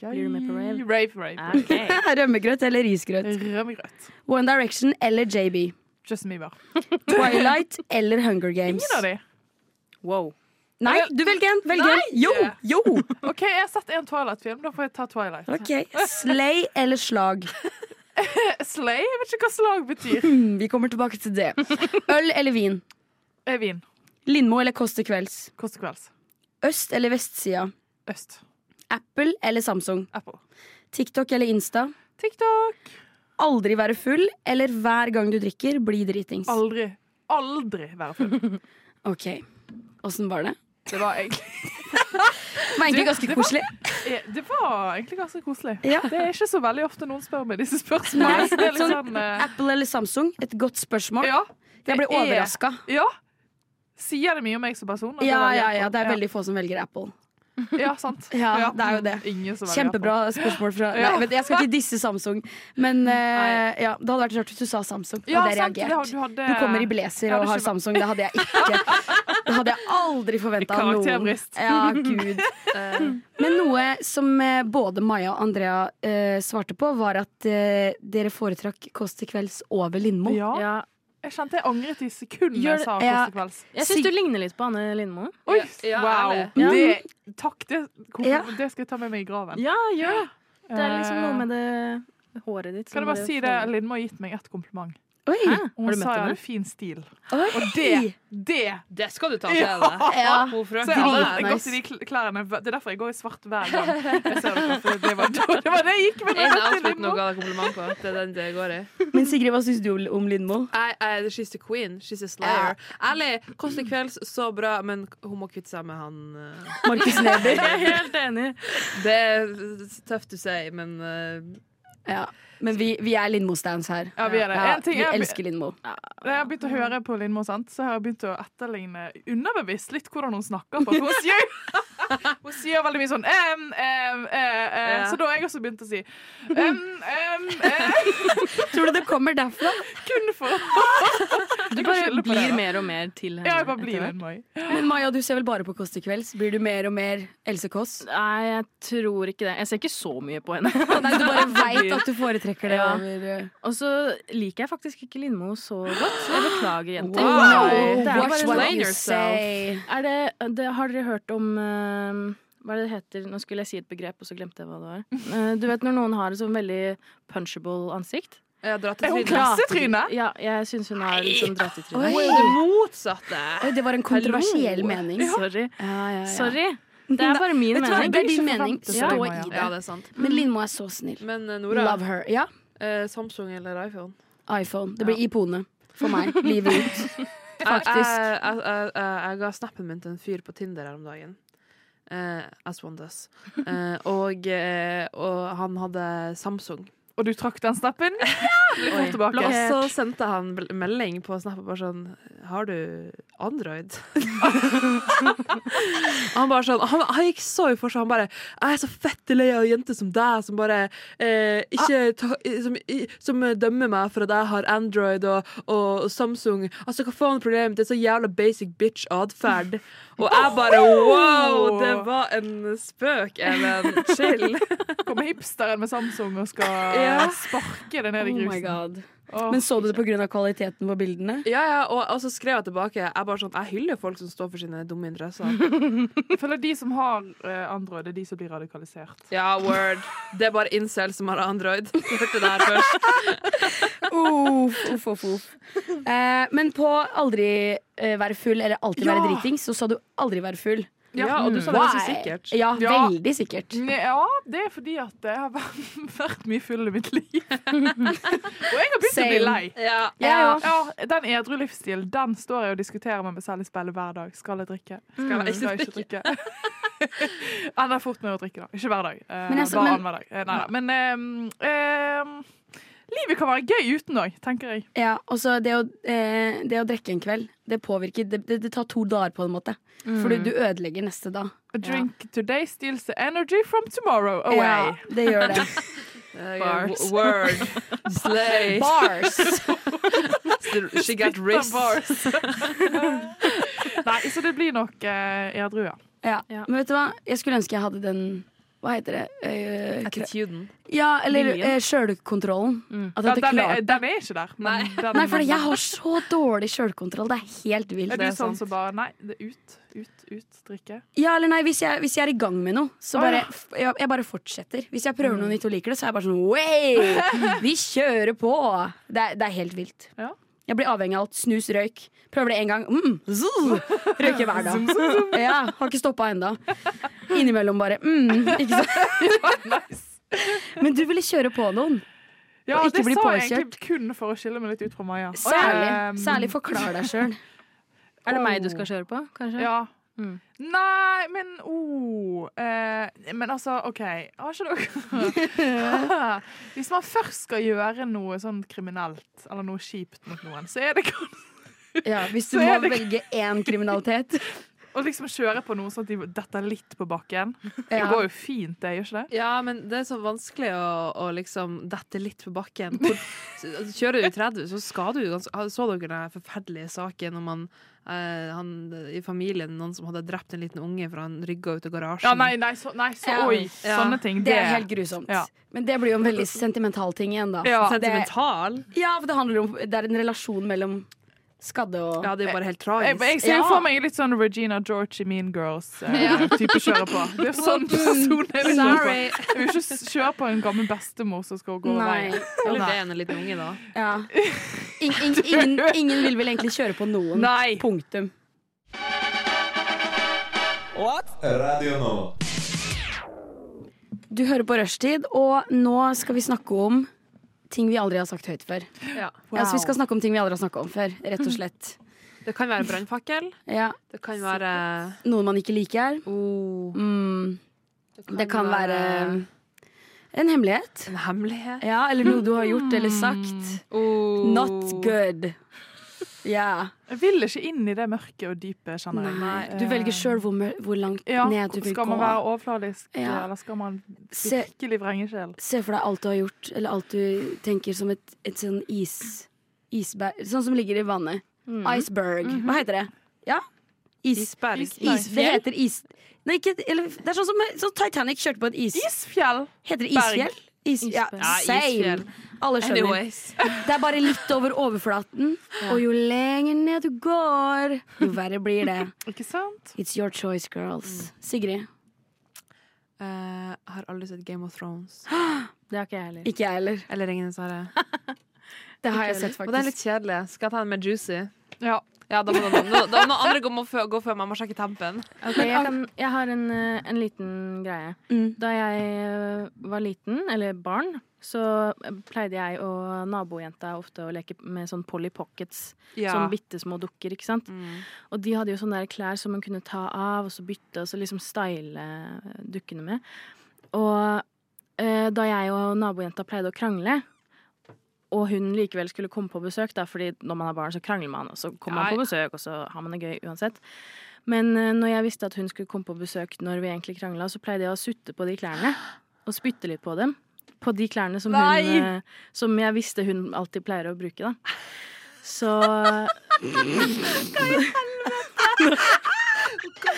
Blir du med på rave? Rave, rave. Rømmegrøt eller risgrøt? Rømmegrøt. One Direction eller JB? Justin Bieber. Twilight eller Hunger Games? Ingen av de. Wow. Nei, du velger en! Velg en! Jo! Jo! OK, jeg har sett en Twilight-film. Da får jeg ta Twilight. Ok, Slay eller slag? Slay? Jeg vet ikke hva slag betyr. Hmm, Vi kommer tilbake til det. Øl eller vin? Eh, Vin. Lindmo eller Kåss til kvelds? Kåss til kvelds. Øst eller vestsida? Øst. Apple eller Samsung? Apple. TikTok eller Insta? TikTok. Aldri være full, eller hver gang du drikker, bli dritings. Aldri. Aldri være full. OK. Åssen var det? Det var egentlig Det var egentlig Du, ganske det var- koselig. Eh, Det var egentlig ganske koselig. Ja. Det er ikke så veldig ofte noen spør meg disse Nei, spørsmålene. så det er litt sånn, sånn, eh, Apple eller Samsung? Et godt spørsmål. Ja, Jeg ble det er- overraska. Ja. Sier det mye om meg som person? at jeg Ja, velger ja, Apple? ja, det er veldig få som velger Apple. Ja, sant. Ja, det er jo det. Ingen som velger Kjempebra Apple. spørsmål fra Nei, Ja. vet, du, jeg skal ikke disse Samsung, men eh, ja, det hadde vært rart hvis du sa Samsung. Da Ja, hadde jeg sant, det har- reagert. du hadde- Du kommer i blazer Jeg hadde og har ikke- Samsung. Det hadde jeg ikke. Det hadde jeg aldri forventa av noen. Karakterbrist. Ja, gud. Eh, Men noe som eh, både Maja og Andrea eh, svarte på, var at eh, dere foretrakk Kåss til kvelds over Lindmo. Ja. Jeg kjente jeg angret i sekundet jeg sa Ja. Kåss til kvelds. Jeg syns du ligner litt på Anne Lindmo. Oi, Ja, wow. Mm. ærlig. Ja. Det, takk, det, kom- Ja. det skal jeg ta med meg i graven. Ja, gjør det. Det er liksom noe Eh, med det håret ditt. Kan som jeg bare si det? føler- Lindmo har gitt meg et kompliment. Oi, Hun Har du møtt sa jeg henne? hadde fin stil. Oi. Og det, det Det skal du ta til Ja! deg. Hun Så frøken jeg har der. aldri gått i de kl- klærne. Det er derfor jeg går i svart hver gang. Jeg ser dere, for det, var, det var det jeg gikk med. når jeg En møtte outfit Lindmo. noe av kompliment på. Det er den det går i. Men Sigrid, hva syns du om Lindmo? I, I, she's the queen. She's a slayer. Ærlig, Kåss til kvelds, så bra, men hun må kvitte seg med han eh. Markus Neby. Jeg er helt enig. Det er tøft å si, men eh, Ja. Men vi, vi er Lindmo-stands her. Ja, vi er det. En ting vi jeg- elsker Lindmo. Da jeg har begynt å høre på Lindmo, sant, så har jeg begynt å etterligne underbevisst litt hvordan hun snakker. For hun sier, hun sier veldig mye sånn em, em, eh, eh. Ja. Så da har jeg også begynt å si em, em, eh. Tror du det kommer derfra? Kun for Du Jeg kan bare skylde på det, blir da. mer og mer til henne. Ja, jeg bare blir etter hvert. en mai. Men Maja, du ser vel bare på Kåss til kvelds? Blir du mer og mer Else Kåss? Nei, jeg tror ikke det. Jeg ser ikke så mye på henne. Nei, du bare veit at du foretrekker det Ja. over eh, Og så liker jeg faktisk ikke Lindmo så godt. Jeg beklager, jenter. Wow. Nei, det er Watch bare what sånn- you say. Er det, det, har dere hørt om eh, Hva er det det heter? Nå skulle jeg si et begrep, og så glemte jeg hva det var. Eh, Du vet når noen har et sånn veldig punchable ansikt? Er hun klassetryne? Ja, jeg syns hun har litt sånn drattetryne. Oi, det motsatte. Oi, det var en kontroversiell Hallo. mening. Sorry. ja, ja. Sorry. Det er bare min Vet du hva, mening. Det er din mening. Ja. Stå i det. Ja, det er sant. Men Lindmo er så snill. Men eh, Nora, Love her. Ja, eh, Samsung eller iPhone? iPhone. Det blir ipone for meg. Livet ut. Jeg, Faktisk. jeg, jeg, jeg, jeg ga snappen min til en fyr på Tinder her om dagen. Eh, as one does. Eh, og, eh, og han hadde Samsung. Og du trakk den snappen jævlig fort tilbake. Og så sendte han bl- melding på snappen bare sånn Har du Android? han bare sånn han, han gikk så i for seg. Han bare Jeg er så fett lei av jenter som deg, som bare eh, ikke ta, som, i- som dømmer meg for at jeg har Android og, og, Samsung. Altså, hva faen er problemet? Det er så jævla basic bitch-atferd. Og jeg bare wow! Det var en spøk, Even. Chill. Kommer hipsteren med Samsung og skal Ja. sparke det ned i Oh my grusen. Åh. Men så du det pga. kvaliteten på bildene? Ja, ja, og, og så skrev jeg tilbake. Jeg bare sånn, jeg hyller folk som står for sine dumme interesser. Jeg føler de som har eh, Android, det er de som blir radikalisert. Ja, word. Det er bare incel som har Android. Du hørte det her først. Uff, uff, uff, uff. Eh, men på aldri eh, være full eller alltid Ja. være dritings, så sa du aldri være full. Ja, og du sa det Why? ganske sikkert. Ja, Ja. Mm. veldig sikkert. Ne- Ja, det er fordi at jeg har vært- vært mye full i mitt liv. og jeg har begynt å bli Same. lei. Ja. ja. Jeg Den edru livsstilen den står jeg og diskuterer med meg selv i speilet hver dag. Skal jeg drikke? Mm. Skal jeg Skal ikke jeg ikke drikke? Ender fort med å drikke, da. Ikke hver dag. Eh, Men jeg så- bare men- annenhver dag. Eh, Nei da. Men ehm, ehm, livet kan være gøy uten òg, tenker jeg. Ja, og så det å, eh, det å drikke en kveld, det påvirker Det, det, det tar to dager på en måte. For Mm. du, du ødelegger neste dag. A drink today steals the energy from tomorrow away. Ja, det gjør det. Bars. Word. Slay. Bars! She got wrist. Bars. Nei, så det blir nok eh, edru, ja. Ja. Men vet du hva? Jeg skulle ønske jeg hadde den Hva heter det? Eh, kre- Attituden. ja, eller Viljen. eh, sjølkontrollen. At Ja, jeg hadde den, er, klart den er ikke der. Men den, Nei, for jeg har så dårlig sjølkontroll. Det er helt vilt. Er du er sånn sant. som bare Nei, det er ut, ut, ut. Drikke. Ja, eller nei, hvis jeg, hvis jeg er i gang med noe, så Å, bare ja. Mm. f- jeg, jeg bare fortsetter. Hvis jeg prøver noe nytt og liker det, så er jeg bare sånn Way! Vi kjører på! Det er, det er helt vilt. Ja. Jeg blir avhengig av alt. Snus, røyk. Prøver det én gang. Mm, zoo! Røyker hver dag. Ja, har ikke stoppa ennå. Innimellom bare mm, ikke sant? Men du ville kjøre på noen. Ja, Og ikke det bli sa jeg egentlig kun for å skille meg litt ut fra Maja. Særlig, Ehm, særlig forklar deg sjøl. Mm. Er det meg du skal kjøre på, kanskje? Ja. Mm. Nei, men oh, eh, Men altså, OK. Har ikke dere Hvis man først skal gjøre noe sånn kriminelt eller noe kjipt mot noen, så er det kanskje Ja, hvis du Så må er det- velge én kriminalitet. å liksom kjøre på noe sånn at de detter litt på bakken. Det Ja. går jo fint, det, gjør ikke det? Ja, men det er så vanskelig å, å liksom dette litt på bakken. Hvor, altså, kjører du i 30, så skal du jo ganske Så dere den forferdelige saken om han, eh, han i familien, noen som hadde drept en liten unge, for han rygga ut av garasjen? Ja, nei, nei, så, nei så, Ja. oi. Ja. Sånne ting. Det er helt grusomt. Ja. Men det blir jo en veldig sentimental ting igjen, da. Ja. Det, Sentimental? ja, for det handler om Det er en relasjon mellom skadde og Ja, det er jo bare helt Jeg, tragisk. jeg ser jo Ja. for meg litt sånn Regina George i Mean Girls-type kjøre på. Det er jo sånn person jeg vil kjøre på. Sorry. Jeg vil ikke s- kjøre på en gammel bestemor som skal gå over Nei. veien. Eller Nei. det er en liten unge, da. Ja. In, in, ingen, ingen vil vel egentlig kjøre på noen. Nei. Punktum. Radio Nova. Du hører på Rushtid, og nå skal vi snakke om ting vi aldri har sagt høyt før. Ja, Ja. så Altså, vi skal snakke om ting vi aldri har snakka om før, rett og slett. Det kan være brannfakkel. Ja. Det kan være Noen man ikke liker. oh, Mm. Det kan være um, en hemmelighet. Mm. en hemmelighet. Ja, eller noe du har gjort eller sagt. Oh. Not good. Ja. Jeg vil ikke inn i det mørke og dype, kjenner jeg. Eh, Du velger sjøl hvor, mør- hvor langt Ja, ned du vil skal man gå. være overfladisk, Ja. eller skal man Se- virkelig vrenge sjel? Se for deg alt du har gjort, eller alt du tenker som et, et sånn is... Isberg Sånn som ligger i vannet. Iceberg. Hva heter det? Ja? Mm. Mhm. Is, Isberg. is, Is- det Isfjell? heter is... Nei, ikke, eller, det er sånn som sånn Titanic kjørte på et is. Isfjell! Heter det isfjell? Is, ja, Ja, same. isfjell. Alle skjønner. Anyways. Det er bare litt over overflaten, og jo lenger ned du går, jo verre blir det. Ikke sant? Mm. It's your choice, girls. Sigrid, Eh, har aldri sett Game of Thrones. Det har ikke jeg heller. Ikke jeg heller. Eller Ringenes herre. Det har Ikke jeg sett, heller. Og det er faktisk. litt kjedelig. Skal jeg ta den med Juicy? Ja. da må noen, nå- da må noen andre gå, må fø- gå før meg. Må sjekke tempen. Ok, jeg, kan, jeg har en, eh, en liten greie. Da jeg eh, var liten, eller barn, så eh, pleide jeg og nabojenta ofte å leke med sånn Polly Pockets. Ja. Mm. Sånn bitte små dukker, ikke sant. Og de hadde jo sånne der klær som man kunne ta av og så bytte og så liksom style eh, dukkene med. Og eh, da jeg og nabojenta pleide å krangle, og hun likevel skulle komme på besøk, da, fordi når man er barn, så krangler man, og så kommer man Ja, ja. på besøk, og så har man det gøy uansett. Men eh, når jeg visste at hun skulle komme på besøk når vi egentlig krangla, så pleide jeg å sutte på de klærne, og spytte litt på dem. På de klærne som, Nei! hun, eh, som jeg visste hun alltid pleier å bruke, da. Så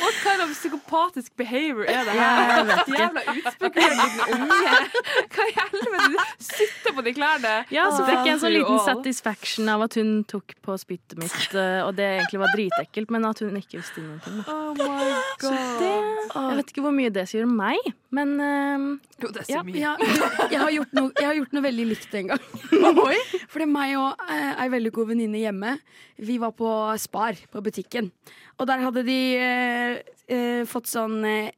What kind of psykopatisk behavior er det Ja, her? jeg vet ikke. Jævla utspekulert liten unge. Hva i helvete? Du sitter på de klærne. Ja, så fikk jeg en sånn liten All. satisfaction av at hun tok på spyttet mitt, eh, og det egentlig var dritekkelt, men at hun ikke visste noe. om det. Oh my Så god. det Jeg vet ikke hvor mye det sier om meg, men eh, Jo, det ja. Ja, jeg, har gjort noe, jeg har gjort noe veldig likt en gang. Fordi meg og eh, ei veldig god venninne hjemme, vi var på Spar, på butikken. Og der hadde de eh, eh, fått sånn eh,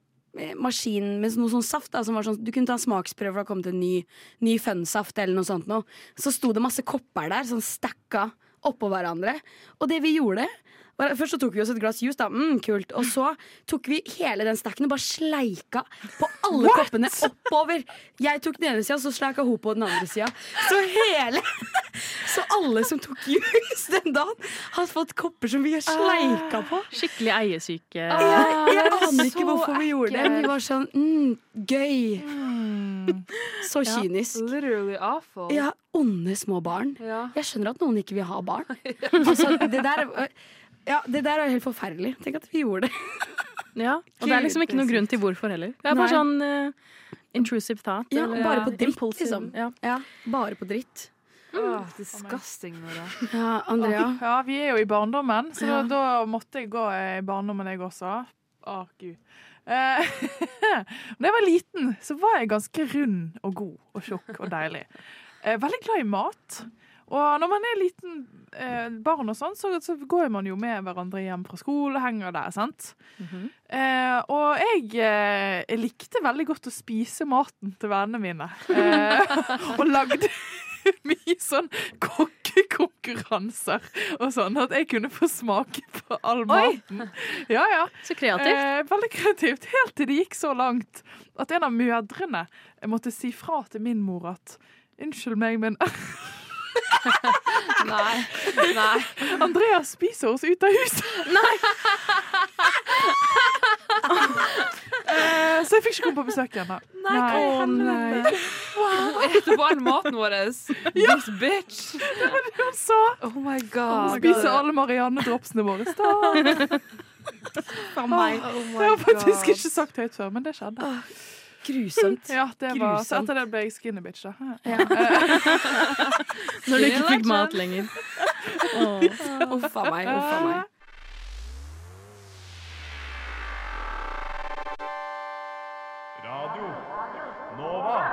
maskin med noe sånn saft. Da, som var sånn, du kunne ta en smaksprøve, for det hadde kommet en ny, ny fun-saft eller noe sånt. Noe. Så sto det masse kopper der, sånn stakka oppå hverandre. Og det vi gjorde var- Først så tok vi oss et glass juice, da. Mm, kult. Og så tok vi hele den stacken og bare sleika på alle What? koppene oppover. Jeg tok den ene sida, så sleika hun på den andre sida. Så hele Så alle som tok juice den dagen, har fått kopper som vi har sleika på. Skikkelig eiesyke. Ah, Jeg, jeg det er aner så ikke hvorfor vi gjorde det. ekkelt. Vi var sånn mm, gøy. Så Ja, kynisk. Literally awful. Mm. Ja, onde små barn. Ja. Jeg skjønner at noen ikke vil ha barn. Altså, det der ja, det der er helt forferdelig. Tenk at vi gjorde det. Ja, og det er liksom ikke noen grunn til hvorfor heller. Det er bare Nei. sånn eh, intrusive thought. Ja, eller- bare på dritt, impulsive. liksom. Ja. Ja, bare på dritt. Åh, Mm. disgusting, Nora. Ja, Andrea. Ja, vi er jo i barndommen, så Ja. da, da måtte jeg gå eh, i barndommen, jeg også. Å, gud. Eh, da jeg var liten, så var jeg ganske rund og god og tjukk og deilig. Eh, veldig glad i mat. Og når man er liten eh, barn og sånn, så, så går man jo med hverandre hjem fra skole, henger der, sant? Mhm. Eh, og jeg, eh, jeg likte veldig godt å spise maten til vennene mine. Eh, og lagde mye sånn kokkekonkurranser og sånn. At jeg kunne få smake på all maten. Ja, ja. Så kreativt. Eh, veldig kreativt. Helt til det gikk så langt at en av mødrene måtte si fra til min mor at Unnskyld meg, men Nei. Nei. Andreas spiser oss ut av huset! Eh, så jeg fikk ikke komme på besøk igjen. da. Nei, hva i Å, nei. helvete? Hun eter bare maten vår. This bitch. Det var det hun sa! Oh my god. Spiser alle Marianne-dropsene våre. Stopp! Fra Oh meg. det har jeg faktisk ikke sagt høyt før, men det skjedde. Grusomt. Ja, det var, så Grusomt. etter det ble jeg skinny bitch, da. Når du ikke fikk mat lenger. Uff a meg. Uff a meg. Radio Nova.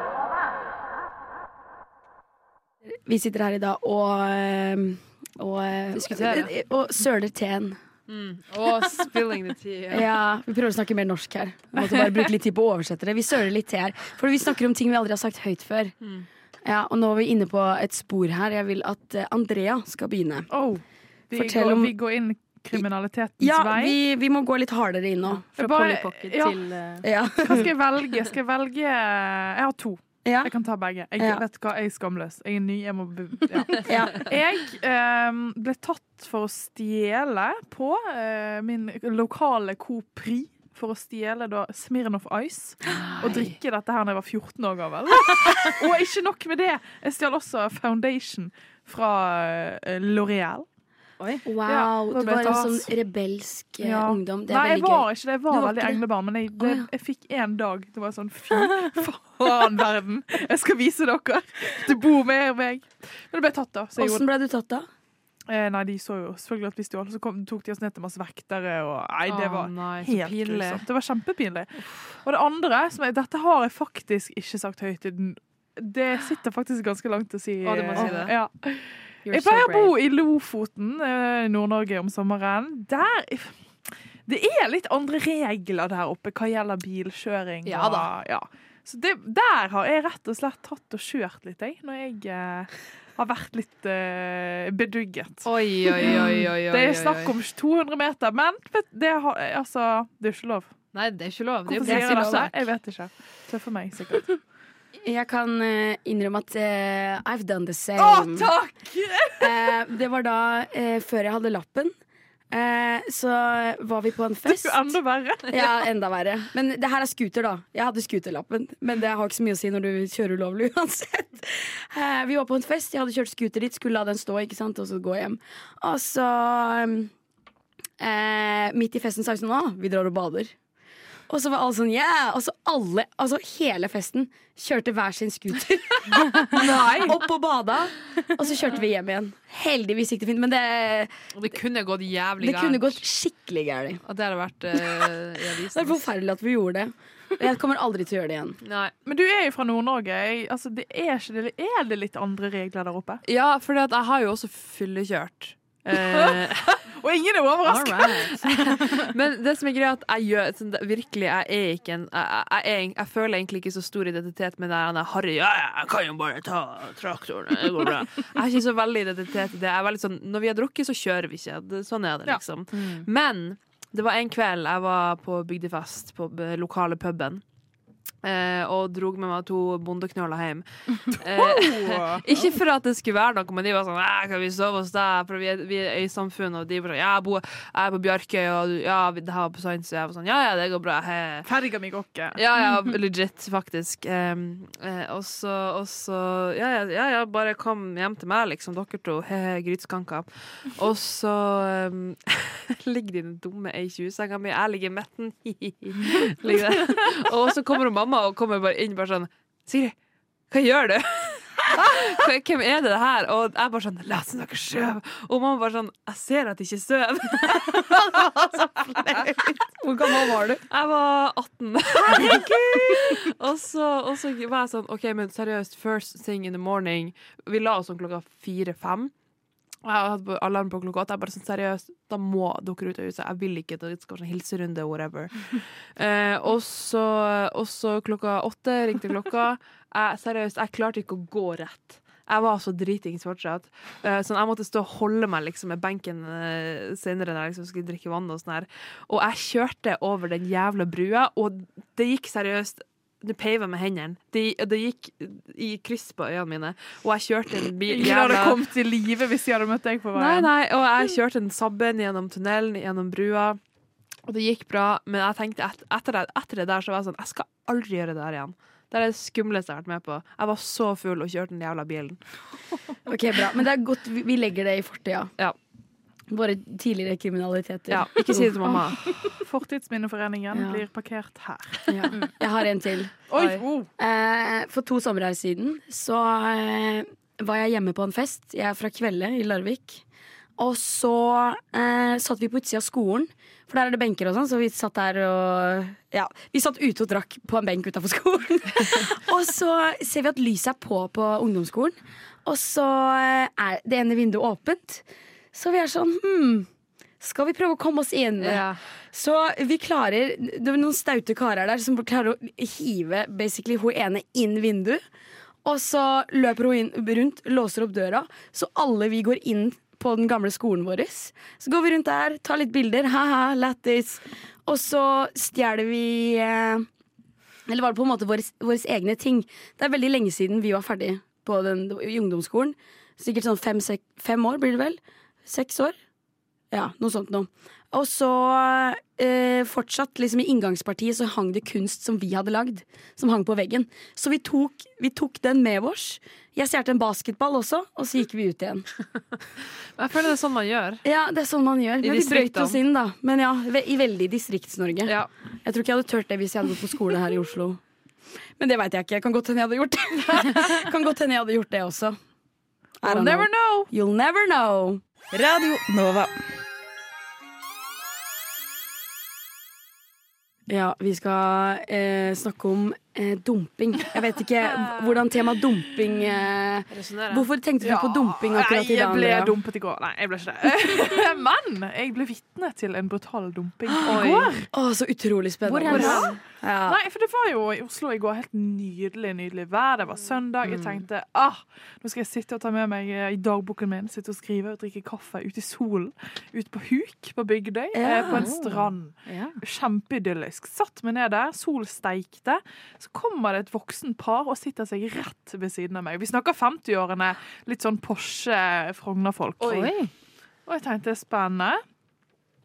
Vi sitter her i dag og eh, og, eh, Diskuterer. og søler teen. Mm. Og spilling the tea. Ja, Vi prøver å snakke mer norsk her. Vi måtte bare bruke litt tid på å oversette det. Vi søler litt til her. For vi snakker om ting vi aldri har sagt høyt før. Mm. Ja, Og nå er vi inne på et spor her. Jeg vil at eh, Andrea skal begynne. Oh, Vi, Fortell går, om- vi går inn kriminalitetens Ja, vei. vi, vi må gå litt hardere inn nå. Fra Bare- Polly Pocket ja. til, eh, ja. Hva skal jeg velge? Skal jeg velge Jeg har to. Jeg kan ta begge. Jeg Ja. vet hva, jeg er skamløs. Jeg er ny. Jeg må be- ja. Ja. Jeg eh, ble tatt for å stjele på eh, min lokale Coop Prix. For å stjele da Smirnoff Ice og drikke dette her da jeg var 14 år gammel. og ikke nok med det, jeg stjal også Foundation fra eh, L'Oreal. Ja, Wow. da du ble jeg var en tatt. sånn rebelsk eh, Ja. ungdom. Det er Nei, jeg veldig gøy. var ikke det. Jeg var Du veldig ikke det? englebarn. Men jeg, det, jeg fikk én dag. Det var sånn fy faen, verden! Jeg skal vise dere! Det bor mer meg. Men det ble tatt, da. Så jeg Hvordan ble gjorde du tatt da? Eh, nei, de så jo selvfølgelig at vi stjal, så kom, tok de oss ned til masse vektere. Og, nei, det Å, var nei, så helt pinlig. grusomt. Det var kjempepinlig. Og det andre, som er, dette har jeg faktisk ikke sagt høyt i den Det sitter faktisk ganske langt å si. eh, Å, du må si det. Ja. You're Jeg so pleier å bo brave. i Lofoten, eh, i Nord-Norge, om sommeren. Der Det er litt andre regler der oppe hva gjelder bilkjøring. Ja og- da. Ja. Så det, der har jeg rett og slett tatt og kjørt litt, jeg, når jeg eh, har vært litt eh, bedugget. Oi, oi, oi, oi, oi, Det oi, er snakk om 200 meter, men vet, det, har, altså, det er jo ikke lov. Nei, det er ikke lov. Det Hvorfor er sier jeg jo dette? sak. Jeg vet ikke. Tøffer meg, sikkert. Jeg kan eh, innrømme at eh, I've done the same. Å, takk! Eh, det var da eh, før jeg hadde lappen. eh, så var vi på en fest. Det er jo enda verre. ja, enda verre. Men det her er scooter, da. Jeg hadde scooterlappen, men det har ikke så mye å si når du kjører ulovlig uansett. Eh, vi var på en fest, jeg hadde kjørt scooter dit, skulle la den stå, ikke sant, og så gå hjem. Og så ehm, eh, Midt i festen sa vi sånn Å, vi drar og bader. Og så var alle sånn yeah! Og så alle, altså hele festen, kjørte hver sin scooter. Opp og bada. Og så kjørte vi hjem igjen. Heldigvis gikk det fint, men det, Og det kunne gått jævlig det gærent. kunne gått skikkelig gærent. Og det hadde vært eh, i Det er avisen. forferdelig at vi gjorde det. Og Jeg kommer aldri til å gjøre det igjen. Men du er jo fra Nord-Norge. Jeg- Altså, det er, ikke det, er det litt andre regler der oppe? Ja, for jeg har jo også fyllekjørt. Eh, Og ingen er overrasket! Men det som er greia er at jeg gjør sånn, det- Virkelig, jeg er ikke en jeg, jeg, jeg, er- jeg føler egentlig ikke så stor identitet med det her Harry, ja, ja, jeg kan jo bare ta traktoren, det går bra. Jeg har ikke så veldig identitet i det. Jeg er veldig sånn, når vi har drukket, så kjører vi ikke. Det, sånn er det, Ja. liksom. Mm. Men det var en kveld jeg var på bygdefest på b- lokale puben. eh, og drog med meg to bondeknøler hjem. Eh, ikke for at det skulle være noe, men de var sånn «Æ, Kan vi sove hos deg? For vi er, vi er i samfunnet, og de var sånn Ja, jeg, bor, jeg er på Bjarkøy, og du- ja, vi- det her var på Sands, og jeg var sånn Ja, ja, det går bra. He. Ferga mi går ikke. Ja, ja, legit, faktisk. Um, eh, og så, og så ja, ja, ja, ja, bare kom hjem til meg, liksom, dere to. He-he, grytskanker. Og så um, ligger de i den dumme A20-senga mi, jeg ligger i midten. ligger der. Og så kommer hun mamma og kommer bare inn bare sånn Sigrid, hva gjør du? Hva- Hvem er det her? Og jeg bare sånn La oss dere sove. Og mamma bare sånn Jeg ser at jeg ikke sover. Hvor gammel var du? Jeg var 18. Herregud! og, så, og så var jeg sånn OK, men seriøst, first thing in the morning Vi la oss om klokka fire-fem. Og jeg hadde på- alarm på klokka åtte. Jeg bare sånn, seriøst, da må dere ut av huset. Jeg vil ikke at det skal være sånn hilserunde, whatever. Eh, og så og så klokka åtte ringte klokka. Jeg, seriøst, jeg klarte ikke å gå rett. Jeg var så dritings fortsatt. Eh, sånn, jeg måtte stå og holde meg liksom, med benken eh, senere når jeg liksom, skulle drikke vann. Og sånn her. Og jeg kjørte over den jævla brua, og det gikk seriøst Det peiva med hendene. Det, det gikk i kryss på øynene mine. Og jeg kjørte en bil Ingen hadde kommet til live hvis de hadde møtt deg på Nei, veien. nei, og jeg kjørte den sabben gjennom tunnelen, gjennom brua. Og det gikk bra, men jeg tenkte et, etter, det, etter det der så var jeg sånn Jeg skal aldri gjøre det der igjen. Det er det skumleste jeg har vært med på. Jeg var så full og kjørte den jævla bilen. Ok, bra. Men det er godt vi vi legger det i fortida. Ja. Våre tidligere kriminaliteter. Ja, ikke si det til mamma. Fortidsminneforeningen Ja. blir parkert her. Jeg har en til. Oi, oh. Eh, for to somre siden så eh, var jeg hjemme på en fest. Jeg er fra Kvelde i Larvik. Og så eh, satt vi på utsida av skolen, for der er det benker og sånn. Så vi satt der og Ja, vi satt ute og drakk på en benk utafor skolen. og så ser vi at lyset er på på ungdomsskolen, og så eh, er det ene vinduet åpent. Så vi er sånn hm, skal vi prøve å komme oss inn? Så vi klarer Det var noen staute karer der som klarer å hive basically hun ene inn vinduet. Og så løper hun inn, rundt, låser opp døra, så alle vi går inn på den gamle skolen vår. Så går vi rundt der, tar litt bilder, ha-ha, lættis. Og så stjeler vi eh, Eller var det på en måte våre, våre egne ting. Det er veldig lenge siden vi var ferdig på den, i ungdomsskolen. Sikkert sånn fem, sek, fem år blir det vel? Seks år? Ja, noe sånt noe. Og så eh, fortsatt, liksom i inngangspartiet så hang det kunst som vi hadde lagd, som hang på veggen. Så vi tok, vi tok den med oss. Jeg stjal en basketball også, og så gikk vi ut igjen. Jeg føler det er sånn man gjør. Ja, det er sånn man gjør. I Men vi brøyt distriktene. oss inn, da. Men ja, ve- i veldig Distrikts-Norge. Jeg tror ikke jeg hadde turt det hvis jeg hadde gått på skole her i Oslo. Men det veit jeg ikke. Kan godt hende jeg hadde gjort det. kan godt hende jeg hadde gjort det også. I You'll don't never know. You'll never know. Radio Nova. Ja, vi skal eh, snakke om eh, dumping. Jeg vet ikke hvordan temaet dumping eh, Resonnerer. Hvorfor tenkte du på Ja, dumping akkurat nei, i dag? Jeg ble Andrea? dumpet i går. Nei, jeg ble ikke det. Men jeg ble vitne til en brutal dumping i går. Å, så utrolig spennende. Hvor hen da? Ja. Nei, for det var jo i Oslo i går helt nydelig, nydelig vær. Det var søndag. Jeg tenkte ah, nå skal jeg sitte og ta med meg eh, i dagboken min, sitte og skrive og drikke kaffe ute i solen. Ute på huk på Bygdøy, eh, på en strand. Kjempeidyllisk. Satt meg ned der, sol steikte. Så kommer det et voksen par og sitter seg rett ved siden av meg. Vi snakker 50-årene, litt sånn Porsche-Frogner-folk. Oi. Og jeg tenkte spennende.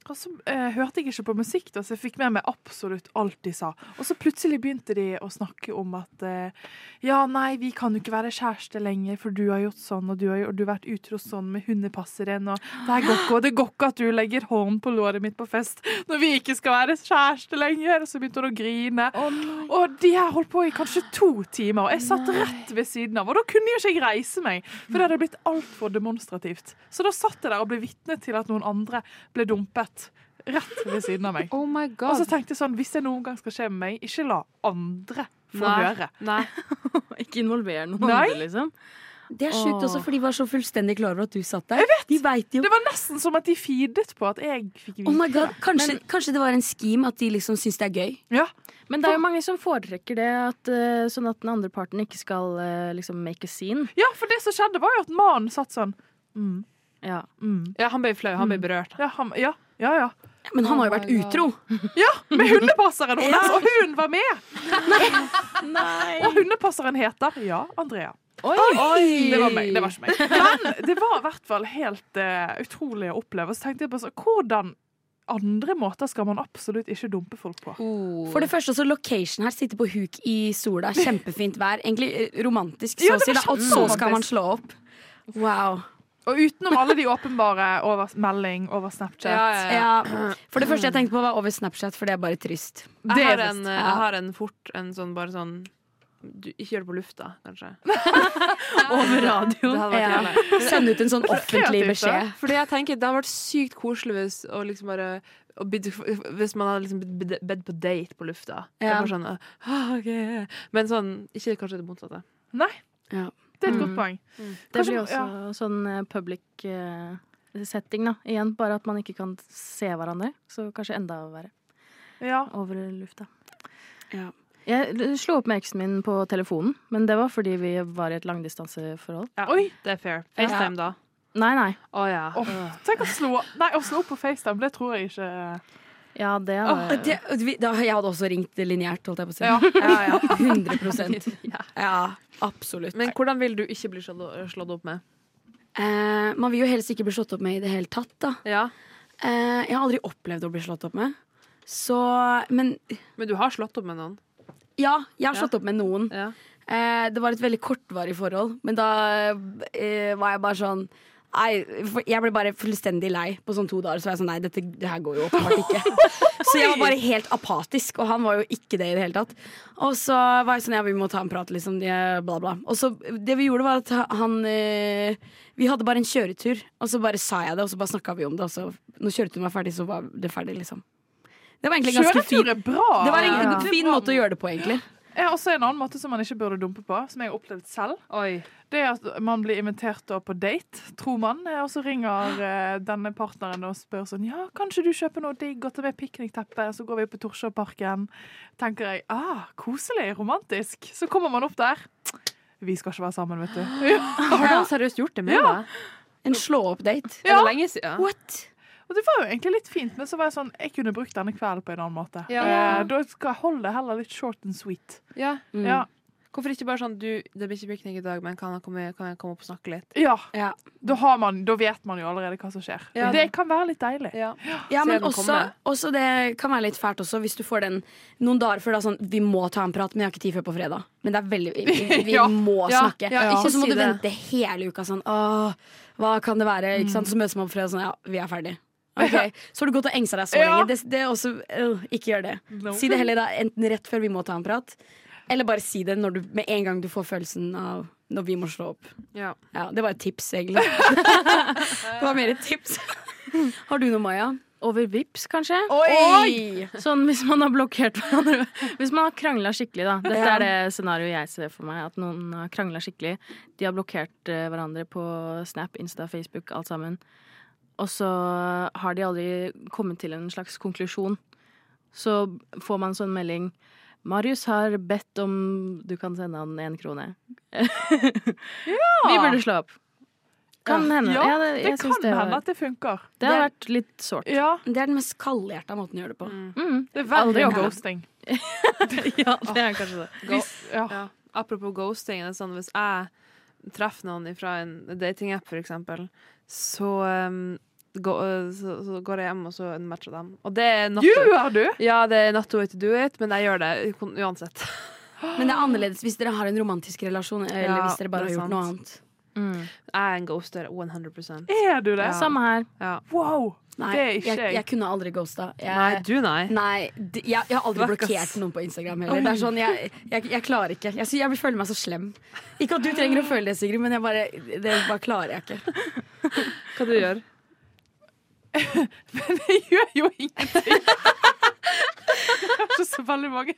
Og så eh, hørte jeg ikke på musikk, da, så jeg fikk med meg absolutt alt de sa. Og så plutselig begynte de å snakke om at eh, ja, nei, vi kan jo ikke være kjæreste lenger, for du har gjort sånn, og du har, og du har vært utro sånn med hundepasseren, og det her går ikke, og det går ikke at du legger hånden på låret mitt på fest når vi ikke skal være kjæreste lenger. Og så begynte hun å grine. og de her holdt på i kanskje to timer, og jeg satt rett ved siden av, og da kunne jo ikke jeg reise meg, for det hadde blitt altfor demonstrativt. Så da satt jeg der og ble vitne til at noen andre ble dumpet. Rett ved siden av meg. Og så tenkte jeg sånn, hvis det noen gang skal skje med meg, ikke la andre få Nei, høre. Nei. ikke involver noen Nei. andre, liksom. Det er sjukt også, Åh. for de var så fullstendig klar over at du satt der. De vet jo. Det var nesten som at de feedet på at jeg fikk vite Oh my God. det. Kanskje, kanskje det var en skim at de liksom syns det er gøy? Men det er jo mange som foretrekker det, at, eh, sånn at den andre parten ikke skal eh, liksom make a scene. Ja, for det som skjedde, var jo at mannen satt sånn. Mm. Ja. ja, han ble flau. han ble berørt. Ja, han, ja, ja, ja. Men Oh han har jo vært utro. Ja, med hundepasseren hennes, Ja. og hun var med! Og hundepasseren heter ja, Andrea. Oi. Det var meg. Det var ikke meg. Men det var i hvert fall helt eh, utrolig å oppleve. Så tenkte jeg på så, hvordan andre måter skal man absolutt ikke dumpe folk på? Oh. For det første, så location her sitter på huk i sola. Kjempefint vær. Egentlig eh, romantisk, så Ja, å det si. var da. Og så kjemperomantisk. skal man slå opp. Wow. Og utenom alle de åpenbare over melding, over Snapchat. Ja. Eh, For det første jeg tenkte på, var over Snapchat, for det er bare trist. Jeg har, en, eh, jeg har en fort en sånn bare sånn du, Ikke gjør det på lufta, kanskje. Over radioen. Det hadde vært Ja. jævlig. Send ut en sånn Men så offentlig kreativt, da. beskjed. Fordi jeg tenker Det hadde vært sykt koselig hvis, å liksom bare, å bid, hvis man hadde liksom bedt- bedt på date på lufta. Det er Ja. bare sånn, «Ah, ok». Men sånn, ikke kanskje det motsatte. Nei. Ja. Det er et godt Mm. poeng. Det Kanskje- blir også ja. sånn eh, public eh, setting, da. Igjen, bare at man ikke kan se hverandre. Så kanskje enda verre. Over lufta. Ja. Jeg slo opp med eksen min på telefonen, men det var fordi vi var i et langdistanseforhold. Oi. Det er fair. Ja. FaceTime, da. Nei, nei. Å ja. Åh, tenk å slå, nei, å slå opp på FaceTime, det tror jeg ikke Ja, det Åh, det, vi- da, jeg hadde også ringt lineært, holdt jeg på å si. Ja. Ja, ja. 100 Ja, absolutt. Men hvordan vil du ikke bli slått, slått opp med? Eh, man vil jo helst ikke bli slått opp med i det hele tatt, da. Eh, jeg har aldri opplevd å bli slått opp med. Så, men Men du har slått opp med noen? Ja, jeg har Ja. slått opp med noen. Eh, det var et veldig kortvarig forhold, men da eh, var jeg bare sånn Nei, for- jeg ble bare fullstendig lei på sånn to dager. Så var jeg sånn, nei, dette det her går jo åpenbart ikke. Så jeg var bare helt apatisk, og han var jo ikke det i det hele tatt. Og så var jeg sånn, ja, vi må ta en prat, liksom, de- bla, bla. Og så det vi gjorde, var at han eh, Vi hadde bare en kjøretur, og så bare sa jeg det, og så bare snakka vi om det, og så når kjøreturen var ferdig, så var det ferdig, liksom. Det var egentlig en ganske fin Kjøretur er bra. Det var en Ja. Det er fin bra. måte å gjøre det på, egentlig. Ja, også en annen måte som man ikke burde dumpe på, som jeg har opplevd selv. Det er at man blir invitert da på date, tror man, eh, og så ringer eh, denne partneren og spør sånn Ja, kanskje du kjøper noe digg og tar med piknikteppe, så går vi på Torshovparken. Tenker jeg ah, koselig, romantisk. Så kommer man opp der. Vi skal ikke være sammen, vet du. Har han seriøst gjort det med Ja. deg? En slå-opp-date. Er det lenge siden? What? Og det var jo egentlig litt fint, men så var jeg sånn Jeg kunne brukt denne kvelden på en annen måte. Ja. Eh, da skal jeg holde det heller litt short and sweet. Ja. Ja. Hvorfor ikke bare sånn du, Det blir ikke piknik i dag, men kan jeg komme, kan jeg komme opp og snakke litt? Ja. Da, har man, da vet man jo allerede hva som skjer. Ja. Det kan være litt deilig. Ja, men også, også det kan være litt fælt også, hvis du får den noen dager før. Da, sånn, vi må ta en prat, men jeg har ikke tid før på fredag. Men det er veldig, vi, vi Ja. må Ja, snakke. ja, ikke Og så må si du det. vente hele uka sånn Åh, hva kan det være? Ikke Mm. sant? Så møtes man på fredag sånn Ja, vi er ferdig. Ok, Så har du gått og engsa deg så Ja. lenge. Det, det er også, øh, ikke gjør det. No. Si det heller da, enten rett før vi må ta en prat, eller bare si det når du, med en gang du får følelsen av når vi må slå opp. Ja. det var et tips, egentlig. det var mer et tips. Har du noe, Maja? Over Vips, kanskje? Oi! Sånn hvis man har blokkert hverandre. Hvis man har krangla skikkelig, da. Dette Ja. er det scenarioet jeg ser for meg. At noen har krangla skikkelig. De har blokkert eh, hverandre på Snap, Insta, Facebook, alt sammen. Og så har de aldri kommet til en slags konklusjon. Så får man sånn melding. Marius har bedt om Du kan sende han én krone. Vi burde slå opp. Kan hende. Ja, Ja, det, det- jeg kan syns det var- hende at det funker. Det har vært litt sårt. Ja. Det er den mest kaldhjerta måten å gjøre det på. Det er verre Aldri enn gjort. ghosting. ja, det er kanskje det. Go ja. Apropos ghosting, det er sånn, hvis jeg treffer noen fra en datingapp, for eksempel, så, um, gå, så, så går jeg hjem og så matcher dem. Og det er not Gjør du? Ja, det er not to way to do it, men jeg gjør det kon- uansett. Men det er annerledes hvis dere har en romantisk relasjon, eller Ja, hvis dere bare det har er gjort noe annet. Jeg er en ghoster 100 Er du det? Ja. mm. Samme her. Ja. Wow! Nei, det er ikke jeg, jeg jeg. kunne aldri ghosta. Jeg, Nei, du nei. Nei, d- jeg, jeg har aldri Fuck, ass. blokkert noen på Instagram heller. Det er sånn, jeg, jeg, jeg klarer ikke. Jeg, sy- jeg føler meg så slem. Ikke at du trenger å føle det, Sigrid, men jeg bare, det bare klarer jeg ikke. Hva du gjør Jeg har ikke så veldig mange.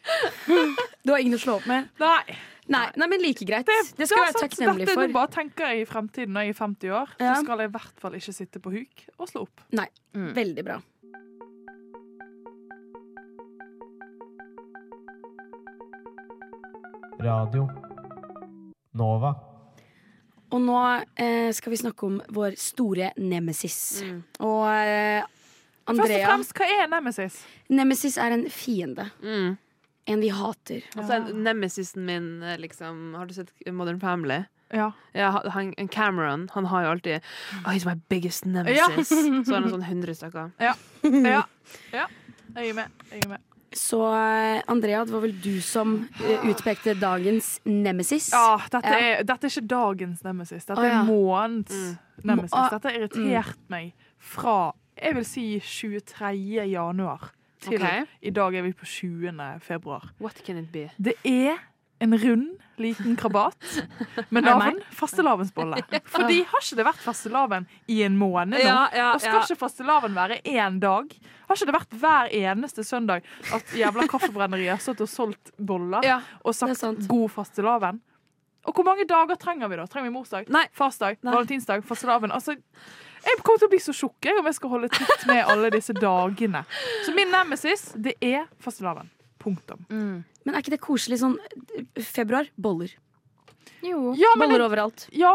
Du har ingen å slå opp med. Nei. Nei, nei men like greit. Det skal jeg være sant. takknemlig sånn Dette er for. noe bare tenker jeg i fremtiden når jeg er 50 år. Ja. Så skal jeg i hvert fall ikke sitte på huk og slå opp. Nei, veldig bra. Radio Nova. Og nå eh, skal vi snakke om vår store nemesis. Og eh, Mm. Først og Andrea fremst, hva er nemesis? Nemesis er en fiende. Mm. En vi hater. Altså, en- Nemesisen min, eh, liksom Har du sett Modern Family? Ja. han- han, Cameron han har jo alltid oh, He's my biggest nemesis. Ja. Så har han sånn 100 stykker. Ja. ja. ja. Jeg er med. Jeg er med. Så eh, Andrea, det var vel du som eh, utpekte dagens nemesis? Ja, dette, Ja. Er, dette er ikke dagens nemesis. Dette Å, er ja. månedens Mm. nemesis. Må- Dette har irritert meg fra jeg vil si 23. januar til Ok. i dag er vi på 20. februar. What can it be? Det er en rund, liten krabat Er med det navn fastelavnsbolle. Fordi har ikke det vært fastelavn i en måned nå? Ja, ja, og skal ja. ikke fastelavn være én dag? Har ikke det vært hver eneste søndag at jævla kaffebrenneriet har stått og solgt boller Ja, og sagt 'god fastelavn'? Og hvor mange dager trenger vi da? Trenger vi morsdag? Farsdag? Valentinsdag? Fastelavn? Altså, jeg kommer til å bli så tjukk jeg, om jeg skal holde tritt med alle disse dagene. Så min nemesis, det er fastelavn. Punktum. Men er ikke det koselig sånn eh, februar? Boller. Jo. Ja, men boller jeg- overalt. Ja,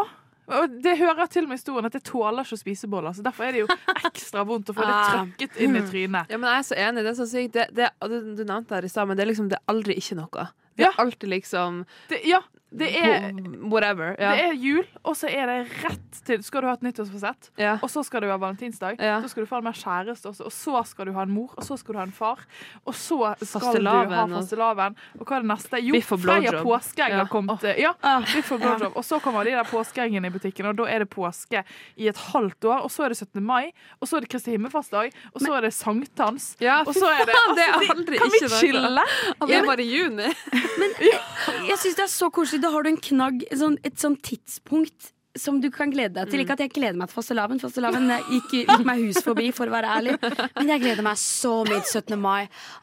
og det hører til med historien at jeg tåler ikke å spise boller, så derfor er det jo ekstra vondt å få det Ah. trøkket inn i trynet. Ja, men jeg er så enig. Det er så sykt. Det, det, og du, du nevnte det her i stad, men det er liksom det er aldri ikke noe. Det er alltid liksom Det, ja, det er, Wh- Whatever. Ja. det er jul, og så er det rett til Skal du ha et nyttårsforsett, og så skal du ha valentinsdag, så skal du faen meg ha kjæreste også, og så skal du ha en mor, og så skal du ha en far, og så skal du ha Fastelavn og- fastelavn, og hva er det neste? Jo, Biff og Freia blowjob. påskeegg Ja. Ah. har kommet. eh, Ja, biff og blowjob. Og så kommer de der påskeeggene i butikken, og da er det påske i et halvt år, og så er det 17. mai, og så er det Kristi himmelfartsdag, og så er det sankthans, og fy så er det faen, det er altså, aldri Kan ikke vi noe. chille? Det er bare i juni. Jeg syns det er så koselig. Da har du en knagg, et sånn, et sånn tidspunkt. Som du kan glede deg til. Ikke at jeg gleder meg til fastelavn. Fastelavn eh, gikk, gikk meg hus forbi, for å være ærlig. Men jeg gleder meg så mye til 17. mai,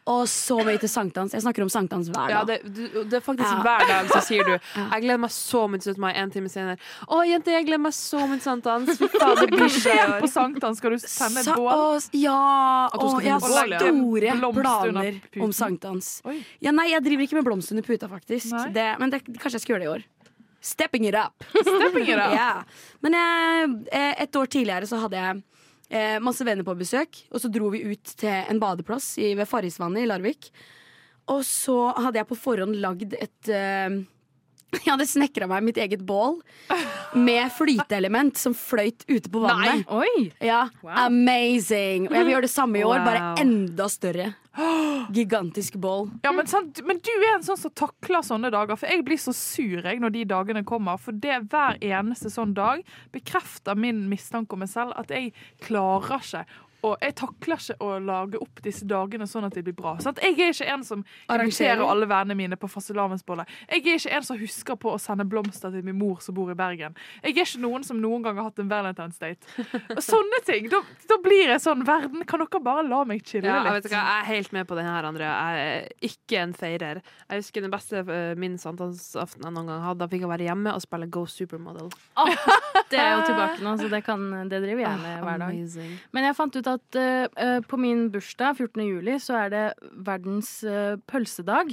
og så mye til sankthans. Jeg snakker om sankthans hver dag. Ja, det, du, det er faktisk Ja. hver dag så sier du Jeg gleder meg så mye til 17. mai. En time senere. Å, jente, jeg gleder meg så mye til sankthans. Fy faen, det Hva blir så skjer på sankthans? Skal du tenne et Sa- bål? å, ja, At hun skal å, jeg har få bål, ja. store Blomster under planer puten. om sankthans. Ja, nei, jeg driver ikke med blomster under puta, faktisk. Nei. Det, men det, kanskje jeg skal gjøre det i år. Stepping it up. Stepping it up. Ja. Men eh, eh, et år tidligere så hadde jeg eh, masse venner på besøk, og så dro vi ut til en badeplass i, ved Farrisvannet i Larvik. Og så hadde jeg på forhånd lagd et eh, Jeg hadde snekra meg mitt eget bål med flyteelement som fløyt ute på vannet. Nei. Oi. Ja, Amazing! Og jeg vil gjøre det samme i år, bare Wow. enda større. Gigantisk bål. Mm. Ja, men, sant, men du er en sånn som takler sånne dager. For jeg blir så sur jeg når de dagene kommer. For det hver eneste sånn dag bekrefter min mistanke om meg selv at jeg klarer ikke Og jeg takler ikke å lage opp disse dagene sånn at de blir bra. Sant? Jeg er ikke en som Arrangerer. inviterer alle vennene mine på fastelavnsboller. Jeg er ikke en som husker på å sende blomster til min mor som bor i Bergen. Jeg er ikke noen som noen gang har hatt en Valentine's Date. Og sånne ting. Da, da blir jeg sånn Verden, kan dere bare la meg chille Ja, jeg, vet litt? ikke, hva, jeg er helt med på den her, Andrea. Jeg er ikke en feirer. Jeg husker den beste eh, min sankthansaften jeg noen gang hadde. Da fikk jeg være hjemme og spille Go Supermodel. Det er jo tilbake nå, så det, kan, det driver jeg eh, Ah, med hver dag. Men jeg fant ut at eh, eh, på min bursdag, 14. juli, så er det verdens eh, pølsedag.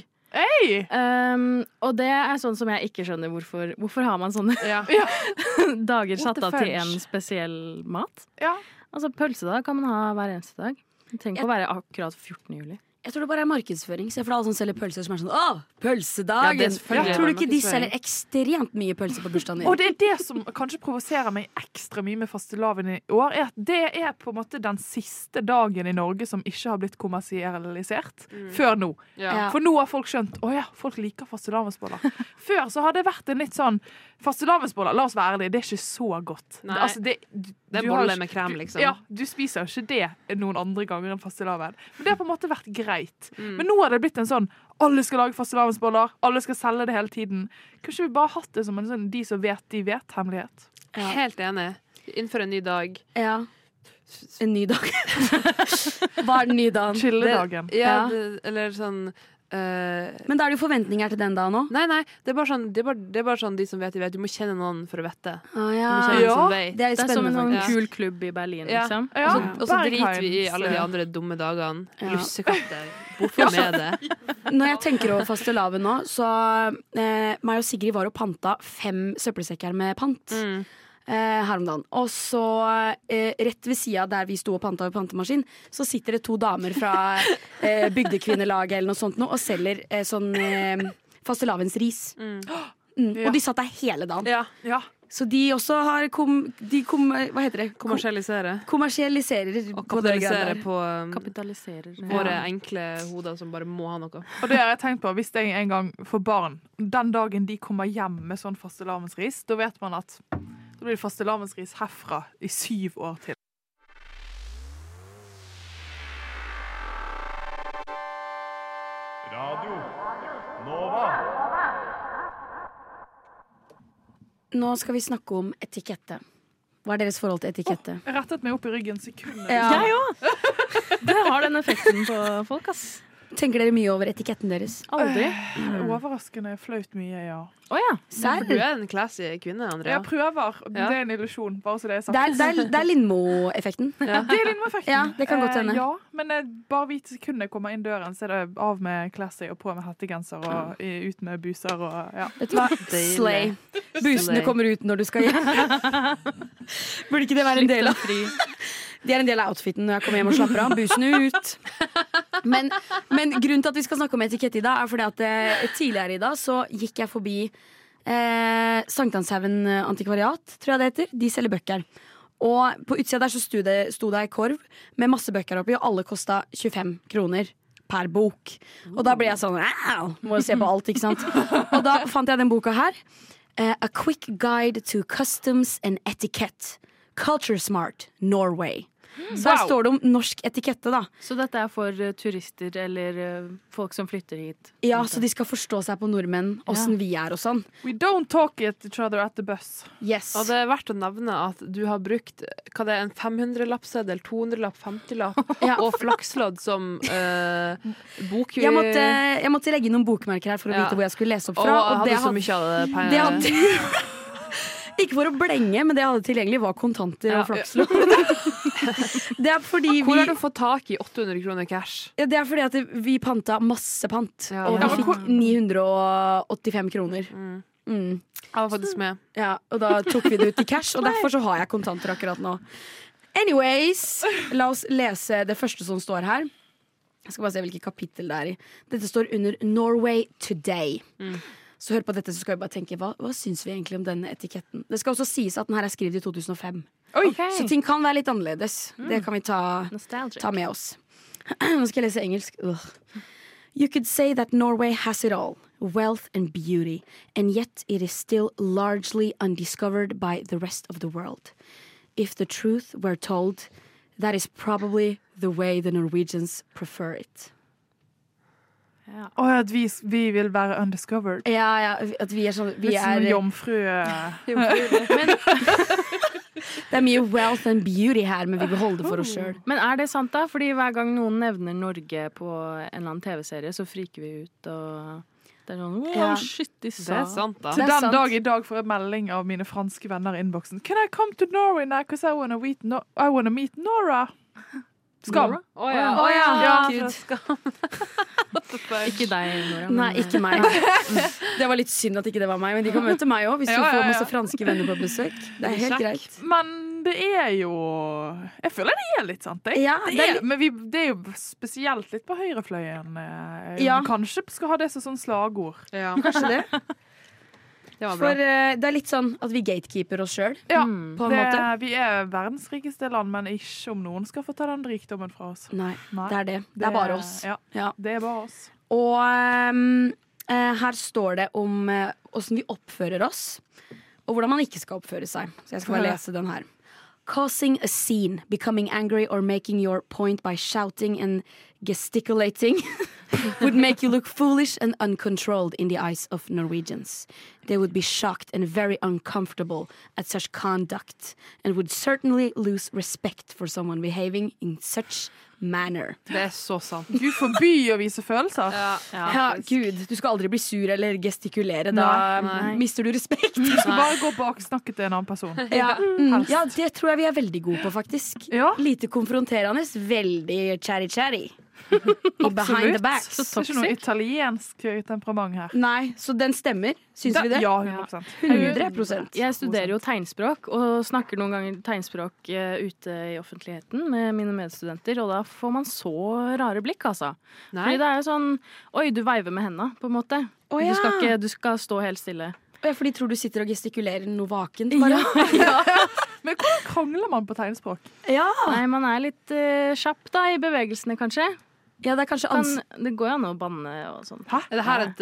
Ehm, og det er sånn som jeg ikke skjønner hvorfor Hvorfor har man sånne dager What satt the av til fudge? en spesiell mat? Altså Pølsedag kan man ha hver eneste dag. Det trenger ikke å være akkurat 14. juli. Jeg tror det bare er markedsføring. Se for deg alle som selger pølser som er sånn Å, pølsedagen! Ja, det er selvfølgelig tror du ikke de markedsføring. selger ekstremt mye pølser på bursdagen din? Og det er det som kanskje provoserer meg ekstra mye med fastelavn i år, er at det er på en måte den siste dagen i Norge som ikke har blitt kommersialisert Mm. før nå. Ja. For nå har folk skjønt å ja, folk liker fastelavnsboller. før så har det vært en litt sånn Fastelavnsboller, la oss være ærlige, det er ikke så godt. Nei. Altså, det, du- Det er du har boller ikke- med krem, du- liksom. Ja, du spiser jo ikke det noen andre ganger enn fastelavn. Men det har på en måte vært greit. Mm. Men nå har det blitt en sånn alle skal lage fastelavnsboller, alle skal selge det hele tiden. Kanskje vi bare hatt det som en sånn de som vet, de vet-hemmelighet? Helt enig. Innfør en ny dag. Ja. En ny dag. Hva er den nye dagen? Det- Ja, det, eller sånn eh, Men da er det jo forventninger til den dagen òg. Nei, nei, det er, bare sånn, det, er bare, det er bare sånn de som vet, de vet. Du må kjenne noen for å vite. Å, ja. Du må kjenne noen som Ah, Ja, vet. det er litt Det er som en sånn Ja. kul klubb i Berlin, Ja. liksom. Og så- Og så driter vi i alle de Bergheim, så- andre dumme dagene. Ja. Lussekatter. Hvorfor med det? Når jeg tenker over fastelavn nå, så eh, meg og Sigrid var og panta fem søppelsekker med pant. Eh, her om dagen. Og så eh, rett ved sida der vi sto og panta ved pantemaskin, så sitter det to damer fra eh, Bygdekvinnelaget eller noe sånt nå, og selger eh, sånn eh, fastelavnsris. Mm. Ja. Og de satt der hele dagen. Ja. Så de også har kom, de kom, Hva heter det? Kom- Kommersialisere. Kommersialiserer. Og på det greiene der. kapitalisere på um, våre Ja. enkle hoder som bare må ha noe. Og det har jeg tenkt på, hvis jeg en gang får barn, den dagen de kommer hjem med sånn fastelavnsris, da vet man at da blir det fastelavnsris herfra i syv år til. Radio Nova. Nå skal vi snakke om etikette. Hva er deres forhold til etikette? Jeg rettet meg opp i ryggen sekundet. Ja. Jeg òg! Det har den effekten på folk, ass. Tenker dere mye over etiketten deres? Overraskende flaut mye, ja. Å ja. Serr? Du er en classy kvinne, Andrea. Jeg prøver. Det Ja. er en illusjon, bare så det er sagt. Det er, det er, det er Lindmo-effekten. Ja, det er Lindmo-effekten. Ja, det kan godt Eh, hende. Ja, men eh, bare hvit sekund jeg kommer inn døren, så er det av med classy og på med hettegenser og i, ut med buser og ja. Vet du hva? Slay. Busene kommer ut når du skal hjem. Burde ikke det være en del av De er en del av outfiten når jeg kommer hjem og slapper av. Busene ut. Men, men grunnen til at vi skal snakke om etikette i dag, er fordi at eh, tidligere i dag så gikk jeg forbi eh, Sankthanshaugen eh, antikvariat, tror jeg det heter. De selger bøker. Og på utsida der så sto det, sto det ei korv med masse bøker oppi, og alle kosta 25 kroner per bok. Og da ble jeg sånn Au! Må jo se på alt, ikke sant. Og da fant jeg den boka her. eh, A Quick Guide to Customs and Etiquette. Culture Smart, Norway. Så her Wow. står det om norsk etikette, da. Så dette er for eh, turister eller eh, folk som flytter hit? Ja, Så de skal forstå seg på nordmenn, åssen vi er og sånn. We don't talk at each other at the bus. Yes. Og det er verdt å nevne at du har brukt hva det er, en 500-lappseddel, 200-lapp, 50-lapp og flakslodd som eh, bok... Jeg måtte, jeg måtte legge inn noen bokmerker her for å Ja. vite hvor jeg skulle lese opp Og fra. jeg hadde så mye av det på- det hadde, Ikke for å blenge, men det jeg hadde tilgjengelig, var kontanter og flakslån. det er fordi vi Hvor har du fått tak i 800 kroner cash? ja, det er fordi at vi panta masse pant, og vi Ja, men fikk 985 kroner. Mm. Jeg var faktisk med. Ja, og da tok vi det ut i cash, og derfor så har jeg kontanter akkurat nå. Anyways, la oss lese det første som står her. Jeg skal bare se hvilket kapittel det er i. Dette står under Norway Today. Så hør på dette, så skal vi bare tenke hva, hva syns vi egentlig om denne etiketten. Det skal også sies at den her er skrevet i 2005. Så ting kan være litt annerledes. Det kan vi ta, ta med oss. Nå skal jeg lese engelsk. Ugh. You could say that Norway has it all wealth and beauty, and yet it is still largely undiscovered by the rest of the world. If the truth were told, That is probably the way the Norwegians prefer it. Ja. Og at vi, vi vil være undiscovered. Ja, ja, at vi er sånn vi Litt som er- jomfru. eh, Det er mye wealth and beauty her, men vi beholder det for oss sjøl. Men er det sant, da? Fordi hver gang noen nevner Norge på en eller annen TV-serie, så friker vi ut og det er sånn Wow, Ja. shit, de Det sa er sant, Til den dag i dag får jeg melding av mine franske venner i innboksen. Can I come to Norway now? Because I wanna, meet no I wanna meet Nora. Skam. Nora? Å ja. Å ja, Gud. Ikke deg, Nora. men- Nei, ikke meg. Det var litt synd at ikke det var meg, men de kan møte meg òg hvis de Ja, ja, får ja. masse franske venner på besøk. Det er helt greit. Men det er jo Jeg føler det er litt sant, jeg. Ja, det det er, er litt- Men vi, det er jo spesielt litt på høyrefløyen. eh, Ja. Kanskje skal ha det som sånn slagord. Kanskje det. var For bra. eh, det er litt sånn at vi gatekeeper oss sjøl, Ja, Mm. på en det, måte. Vi er verdens rikeste land, men ikke om noen skal få ta den rikdommen fra oss. Nei, det er det. Det er bare oss. Ja, Ja. det er bare oss. Og ehm, eh, her står det om eh, åssen vi oppfører oss, og hvordan man ikke skal oppføre seg. Så jeg skal bare lese den her. Causing a scene, becoming angry or making your point by shouting and gesticulating would make you look foolish and uncontrolled in the eyes of Norwegians. They would be shocked and very uncomfortable at such conduct and would certainly lose respect for someone behaving in such manner. Det er så sant. Gud forby å vise følelser. Ja, ja, gud. Du skal aldri bli sur eller gestikulere. Da Mm, Nei. Nei. mister du respekt. Du skal bare gå bak og snakke til en annen person. Ja. Mm, Helst. ja, det tror jeg vi er veldig gode på, faktisk. Lite konfronterende, veldig cherry-cherry. Behind the backs. Det er ikke noe italiensk temperament her. Nei, så den stemmer, syns Da- vi det? ja, 100%. 100 Jeg studerer jo tegnspråk, og snakker noen ganger tegnspråk eh, ute i offentligheten med mine medstudenter, og da får man så rare blikk, altså. Nei. Fordi det er jo sånn Oi, du veiver med henda, på en måte. Å, ja. du, skal ikke, du skal stå helt stille. Ja, For de tror du sitter og gestikulerer noe vakent, bare. Men hvordan krangler man på tegnspråk? Ah. Nei, man er litt eh, kjapp da, i bevegelsene, kanskje. Ja, Det er kanskje kan, ans- Det går jo an å banne og sånn. Hæ? Er det her et,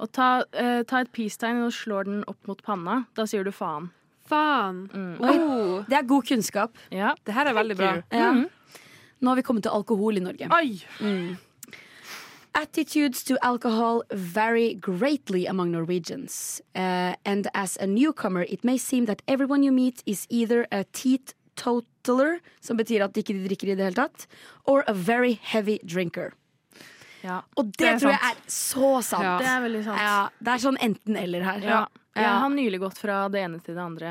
Å ta, eh, ta et peace-tegn og slår den opp mot panna. Da sier du faen. Faen. Oi, Det er god kunnskap. Ja. Det her er veldig bra. Ja. Nå har vi kommet til alkohol i Norge. Mm. Attitudes to alcohol vary greatly among Norwegians. Uh, and as a newcomer, it may seem that everyone you meet is either a teetotaler, som betyr at de ikke drikker i det hele tatt, or a very heavy drinker. Og det, Det er tror jeg sant. er så sant. Det er veldig sant. Ja, det er sånn enten-eller her. Ja. Jeg Ja. har nylig gått fra det ene til det andre,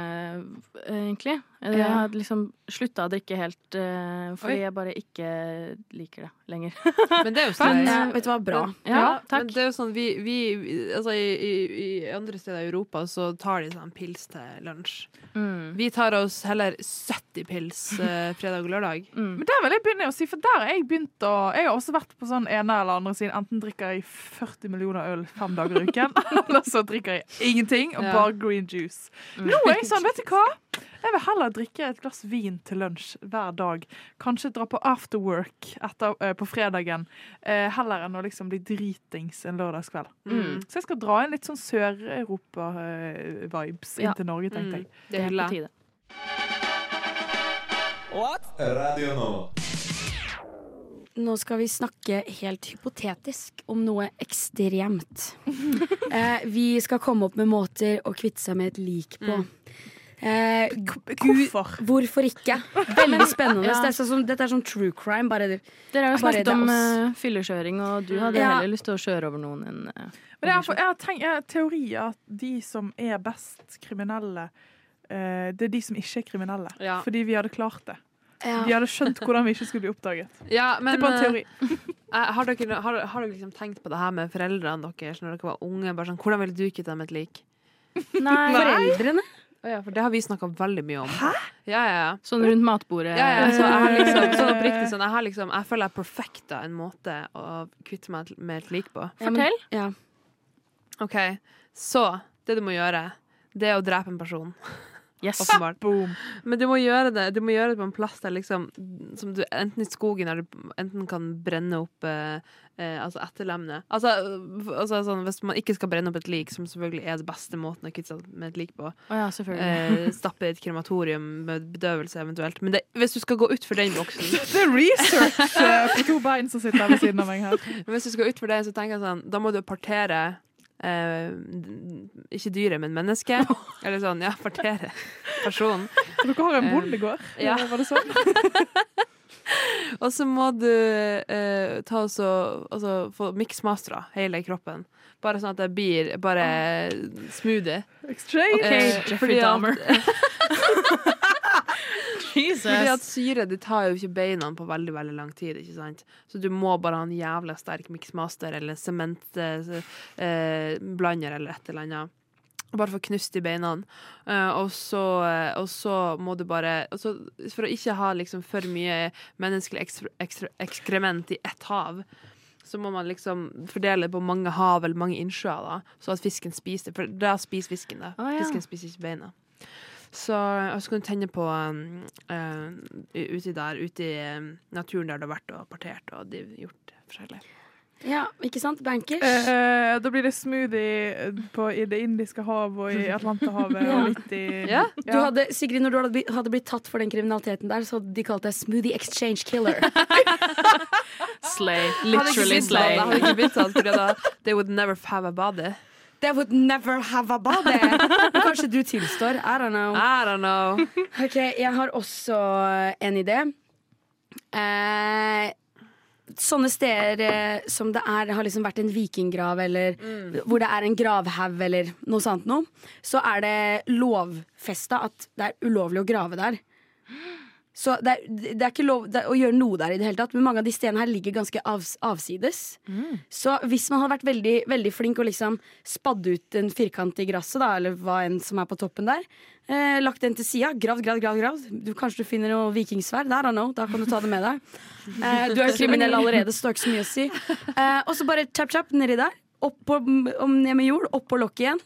eh, egentlig. Jeg Ja. har liksom slutta å drikke helt eh, fordi Oi. jeg bare ikke liker det lenger. Men det er jo Fett. snilt. Ja, eh, vet du hva, bra. Men, Ja, ja, takk. Men det er jo sånn, vi, vi altså, i, i, I andre steder i Europa så tar de sånn pils til lunsj. Mm. Vi tar oss heller 70 pils eh, fredag og lørdag. Men der vil jeg begynne å si, for der har jeg begynt å Jeg har også vært på sånn ene eller andre siden. Enten drikker jeg 40 millioner øl fem dager i uken, eller så drikker jeg ingenting og Ja. bare green juice. Mm. Nå er jeg sånn, vet du hva? Jeg vil heller drikke et glass vin til lunsj hver dag. Kanskje dra på afterwork etter, eh, på fredagen. eh, heller enn å liksom bli dritings en lørdagskveld. Mm. Så jeg skal dra inn litt sånn Sør-Europa-vibes Ja. inn til Norge, tenkte jeg. Mm. Det er hyggelig. På tide. Radio Nova. Nå skal vi snakke helt hypotetisk om noe ekstremt. eh, vi skal komme opp med måter å kvitte seg med et lik på. Eh, hvorfor? Hvorfor ikke? Veldig spennende. Ja. Det er sånn, dette er sånn true crime. Bare, Dere har jo snakket om oss. eh, fyllekjøring, og du hadde Ja. heller lyst til å kjøre over noen enn eh, Men jeg har, jeg har, tenkt, jeg har teori at de som er best kriminelle, eh, det er de som ikke er kriminelle. Ja. Fordi vi hadde klart det. Ja. Vi hadde skjønt hvordan vi ikke skulle bli oppdaget. Ja, men, det er bare en teori. eh, eh, har, dere, har, har dere liksom tenkt på det her med foreldrene deres når dere var unge? Bare sånn, hvordan ville du gitt dem et lik? Nei. Foreldrene? Å ja, for det har vi snakka veldig mye om. Hæ? Ja, ja, ja. Sånn rundt matbordet. Ja, ja, så jeg har liksom, sånn oppriktig sånn, jeg, har liksom, jeg føler jeg perfekta en måte å kvitte meg med et lik på. Ja, men- Ja. OK, så det du må gjøre, det er å drepe en person. Yes. åpenbart. Boom. Men du må gjøre det Du må gjøre det på en plass der liksom som du, Enten i skogen, der du enten kan brenne opp eh, eh, Altså etterlemne. Altså, eh, altså sånn, hvis man ikke skal brenne opp et lik, som selvfølgelig er den beste måten å kvitte seg med et lik på, Å ja, selvfølgelig. eh, stappe i et krematorium med bedøvelse eventuelt. Men det, hvis du skal gå utfor den boksen Det er research eh, på to bein som sitter her ved siden av meg her. Men Hvis du skal utfor det, så tenker jeg sånn Da må du partere eh, Ikke dyret, men mennesket. Eller sånn, ja, partere personen. Dere har en bondegård, Ja. eller var det sånn? Og så må du eh, ta og så- altså, få miksmastra hele kroppen. Bare sånn at det blir bare smoothie. Straight. Eh, Jeffrey fordi at- Dahmer. Jesus. Fordi at syre det tar jo ikke beina på veldig veldig lang tid, ikke sant? så du må bare ha en jævla sterk miksmaster eller sementblander eh, blander eller et eller annet. Bare for å knust i beina. Eh, og, så, eh, og så må du bare og så, For å ikke ha liksom for mye menneskelig ekskre- ekskre- ekskrement i ett hav, så må man liksom fordele det på mange hav eller mange innsjøer, da, så at fisken spiser det. For da spiser fisken det. Å, ja. Fisken spiser ikke beina. Så, og så kan du tenne på um, eh, uti der, ute i eh, naturen der du har vært og partert og de, gjort forskjellig. Ja, ikke sant? Bankers. Eh, da blir det smoothie eh, på, i Det indiske hav og i Atlanterhavet og litt i Du hadde, Sigrid, når du hadde blitt- hadde blitt tatt for den kriminaliteten der, så hadde de kalt deg smoothie exchange killer. Slay. Hadde Literally ikke blitt sånn, slay. det hadde ikke blitt sånn, fordi da They would never have a body. They would never have a body. Men Kanskje du tilstår. I don't know. I don't know. Ok, jeg har også en idé. Eh, sånne steder eh, som det er, har liksom vært en vikinggrav, eller hvor det er en gravhaug, eller noe sånt noe, så er det lovfesta at det er ulovlig å grave der. Så det er, det er ikke lov det er, å gjøre noe der i det hele tatt, men mange av de stedene her ligger ganske avs, avsides. Mm. Så hvis man hadde vært veldig, veldig flink og liksom spadde ut en firkant i gresset, da, eller hva enn som er på toppen der, eh, lagt den til sida, gravd, gravd, gravd, gravd. Du, kanskje du finner noe vikingsverd. Der, I don't know, da kan du ta det med deg. Eh, du er jo kriminell allerede, så det har ikke så mye å si. Eh, og så bare chap, chap nedi der. Opp på, om, ned med jord, opp på lokket igjen.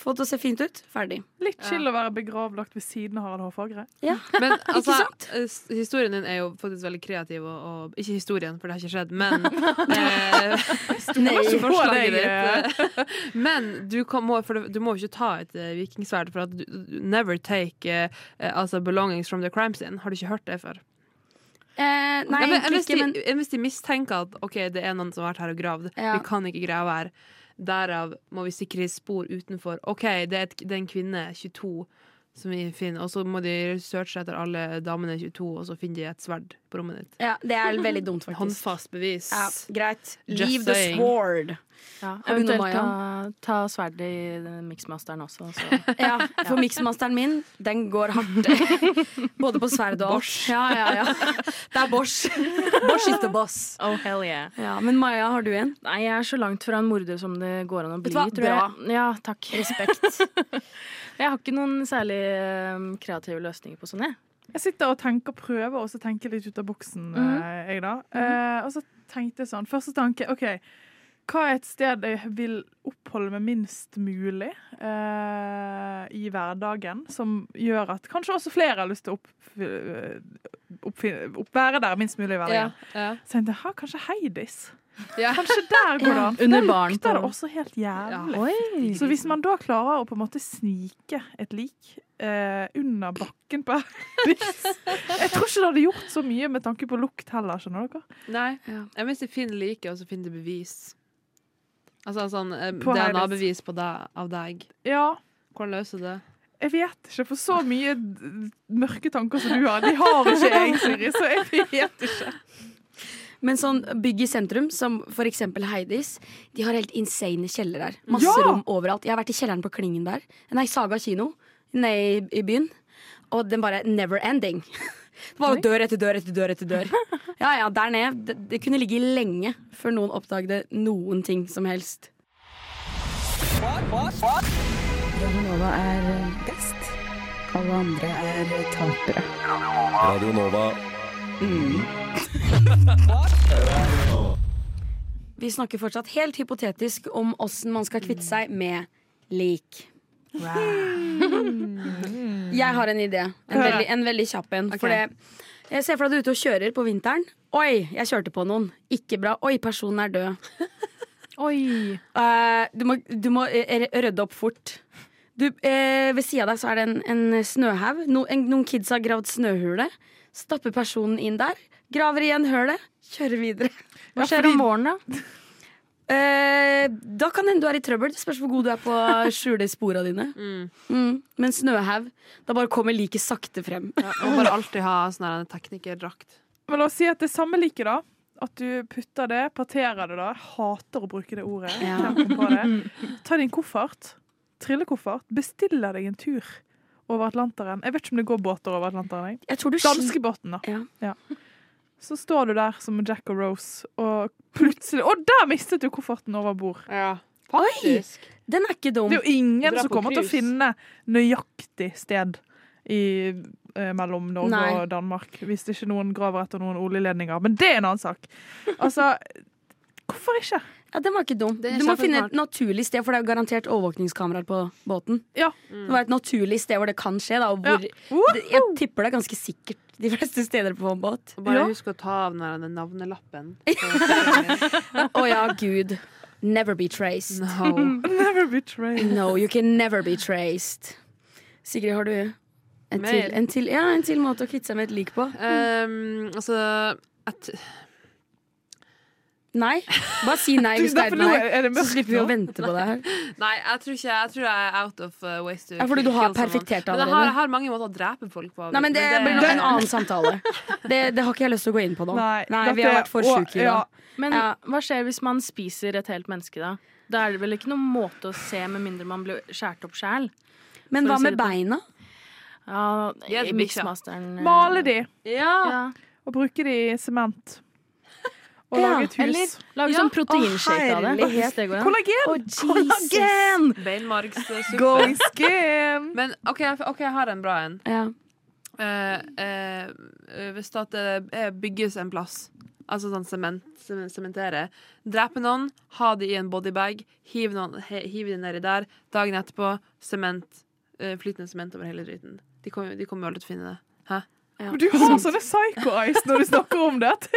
Få det til å se fint ut. Ferdig. Litt chill å være begravlagt ved siden av Harald Hårfagre. Ja. Men altså, s- historien din er jo faktisk veldig kreativ, og, og ikke historien, for det har ikke skjedd, men eh, Nei. ikke på forslaget deg, eh. ditt. eh, Men du, kan, må, for du må jo ikke ta et eh, vikingsverd, for at du, du- never take eh, eh, altså belongings from the crime scene. Har du ikke hørt det før? Eh, nei, Ja, men, egentlig hvis, ikke, men de, hvis de mistenker at ok, det er noen som har vært her og gravd, Ja. vi kan ikke grave her, derav må vi sikre spor utenfor. OK, det er, et, det er en kvinne, 22, som vi finner, og så må de searche etter alle damene 22, og så finner de et sverd på rommet ditt. ja, det er veldig dumt, faktisk. Håndfast bevis. Ja, greit. Just Leave the saying. sword. Ja, Har du noe, eventuelt ta, Maja? ta sverdet i den miksmasteren også. Så. Ja, for miksmasteren min, den går hardt. Både på sverd og alt. Ja, ja, ja. Det er Bosch. Bosch is the boss. Oh, hell yeah. Ja, men Maja, har du en? Nei, jeg er så langt fra en morder som det går an å Vet bli, du hva? tror jeg. Ja, takk. Respekt. jeg har ikke noen særlig eh, kreative løsninger på sånn, jeg. Jeg sitter og tenker prøver, og så tenker jeg litt ut av boksen. Mhm. eh, jeg da. Eh, og så tenkte jeg sånn, Første tanke OK, hva er et sted jeg vil oppholde meg minst mulig eh, i hverdagen, som gjør at kanskje også flere har lyst til å opp, oppfinne- opp, være der minst mulig i hverdagen? Så tenkte jeg «Ha, kanskje Heidis. Kanskje der går det an. for Under der barn lukter på- det også helt jævlig. Ja. Oi. Så hvis man da klarer å på en måte snike et lik eh, under bakken på Heidis Jeg tror ikke det hadde gjort så mye med tanke på lukt heller, skjønner dere? Nei. Jeg mener, hvis de finner liket, og så finner de bevis. Altså sånn eh, På Heidis. DNA-bevis på deg, av deg. Ja. Hvordan løser det? Jeg vet ikke, for så mye d- mørke tanker som du har, de har ikke jeg, Siri, så jeg vet ikke. Men sånn bygg i sentrum, som for eksempel Heidis, de har helt insane kjeller der. Masse Ja! rom overalt. Jeg har vært i kjelleren på Klingen der. Nei, Saga kino nede i, i byen. Og den bare never ending. Det var jo dør etter dør etter dør etter dør. Ja, ja, der nede. Det, det kunne ligge lenge før noen oppdaget noen ting som helst. Radio Nova er best. Alle andre er tapere. Radio Nova. Vi snakker fortsatt helt hypotetisk om åssen man skal kvitte seg med lik. Jeg har en idé. En Hør. veldig, en veldig kjapp en. Ok. For det, jeg ser for deg at du er ute og kjører på vinteren. Oi, jeg kjørte på noen. Ikke bra. Oi, personen er død. Oi. Eh, du må, du må eh, rydde opp fort. Du, eh, ved sida av deg så er det en, en snøhaug. No, en- noen kids har gravd snøhule. Stapper personen inn der. Graver igjen hølet. Kjører videre. Hva skjer om morgenen, da? Eh, da kan hende du er i trøbbel. Det spørs hvor god du er på å skjule spora dine. Mm. Men snøhaug, da bare kommer liket sakte frem. Må bare alltid ha sånn her en teknikerdrakt. Men la oss si at det er samme liket, da. At du putter det, parterer det, da. Hater å bruke det ordet. Hvem kom på det? Ta din koffert, trillekoffert, bestiller deg en tur over Atlanteren. Jeg vet ikke om det går båter over Atlanteren. jeg. Jeg tror du sl- Danskebåten, da. Ja. Så står du der som Jack og Rose, og plutselig Å, der mistet du kofferten over bord! faktisk. Den er ikke dum. Det er jo ingen Dra som på kommer til å cruise. finne nøyaktig sted i, eh, mellom Norge Nei. og Danmark. Hvis det ikke noen graver etter noen oljeledninger. Men det er en annen sak. Altså, hvorfor ikke? Ja, Den var ikke dum. er Du må finne kjempesmart. et naturlig sted, for det er jo garantert overvåkningskameraer på båten. Det må være et naturlig sted hvor det kan skje. Da, og hvor, det- Jeg tipper det er ganske sikkert de fleste steder på en båt. Bare Ja. husk å ta av den der navnelappen. Å ja, gud. Never be traced. No. never be traced. No, you can never be traced. Sigrid, har du en Mer? til, en, til, ja, en til måte å kvitte seg med et lik på? Um, altså at, Nei. Bare si nei Du, hvis det er derfor et nå nei. er- er det Så mørkt slipper vi å nå? vente på det her. Nei, jeg tror ikke Jeg tror jeg er out of uh, ways to Ja, fordi du har kill someone. perfektert Men jeg allerede. har, jeg har mange måter å drepe folk på. Nei, men det blir nok en annen samtale. Det, det har ikke jeg lyst til å gå inn på nå. Nei, vi har vært for sjuke i dag. Men Ja. hva skjer hvis man spiser et helt menneske, da? Da er det vel ikke noen måte å se, med mindre man blir skåret opp sjæl. Men For å hva si med det på- beina? Ja, Gi det bikkja. Mixmasteren eh, Male de. Ja. Og bruke de i sement. Og Ja, lage et hus. eller lage sånn proteinshake av det, hvis det går an. Kollagen! Å, Kollagen! Beinmargssuppe. Going skin! Men OK, jeg- ok, jeg har en bra en. Ja. Eh, eh, hvis det at det eh, bygges en plass, altså sånn sement, semen- sementere Drepe noen, ha de i en bodybag, hiv, noen, he, hiv de nedi der. Dagen etterpå, sement, eh, flytende sement over hele driten. De kommer de kommer jo aldri til å finne det. Hæ? Men Du har sånne psycho-eyes når du snakker om det.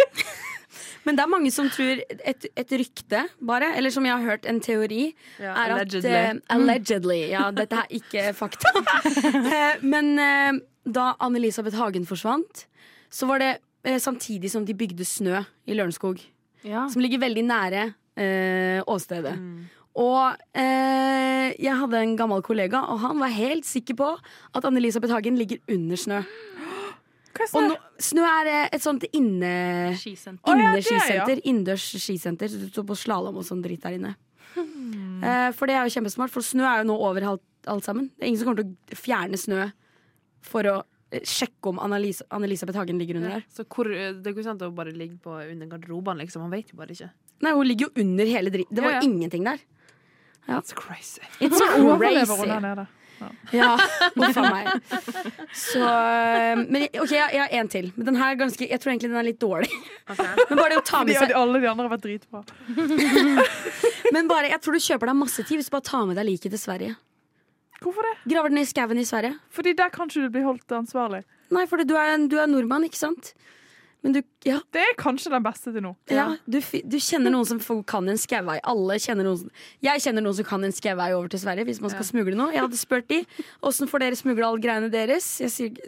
Men det er mange som tror et, et rykte, bare, eller som jeg har hørt en teori, Ja, er allegedly. at eh, Allegedly. Ja, dette er ikke fakta. Eh, Men eh, da Anne-Elisabeth Hagen forsvant, så var det eh, samtidig som de bygde snø i Lørenskog. Ah. Som ligger veldig nære eh, åstedet. Mm. Og eh, jeg hadde en gammel kollega, og han var helt sikker på at Anne-Elisabeth Hagen ligger under snø. Hva er snø? Og nå, snø er eh, et sånt inne... Skisenter. Å, ja, det, Inneskisenter. ja. Innendørs skisenter. Så du står på slalåm og sånn dritt der inne. Hmm. Eh, for det er jo kjempesmart, for snø er jo nå over alt, alt sammen. Det er ingen som kommer til å fjerne snø for å eh, sjekke om Anne-Elisa- Anne-Elisabeth Hagen ligger under der. Så hvor, eh, det går ikke sant å bare ligge på under garderobene, liksom. Han vet jo bare ikke. Nei, hun ligger jo under hele dritt. Det var Ja, ja. ingenting der. Ja. It's crazy. It's Hun overlever crazy. hun der nede. Ja, huff a meg. Så eh, Men jeg- OK, jeg, jeg har én til. Men den her er ganske Jeg tror egentlig den er litt dårlig. Men bare det å ta med Fordi seg alle de andre har vært dritbra. Men bare, jeg tror du kjøper deg masse tid hvis du bare tar med deg liket til Sverige. Hvorfor det? Graver den i skauen i Sverige. Fordi der kan ikke du bli holdt ansvarlig. Nei, for du er, du er nordmann, ikke sant? Men du, ja. Det er kanskje den beste til nå. Ja, du, fi- du kjenner noen som får- kan en skauvei. Alle kjenner noen som, jeg kjenner noen som kan en skauvei over til Sverige hvis man skal smugle noe. Jeg hadde spurt de åssen får dere smugle alle greiene deres. Jeg sier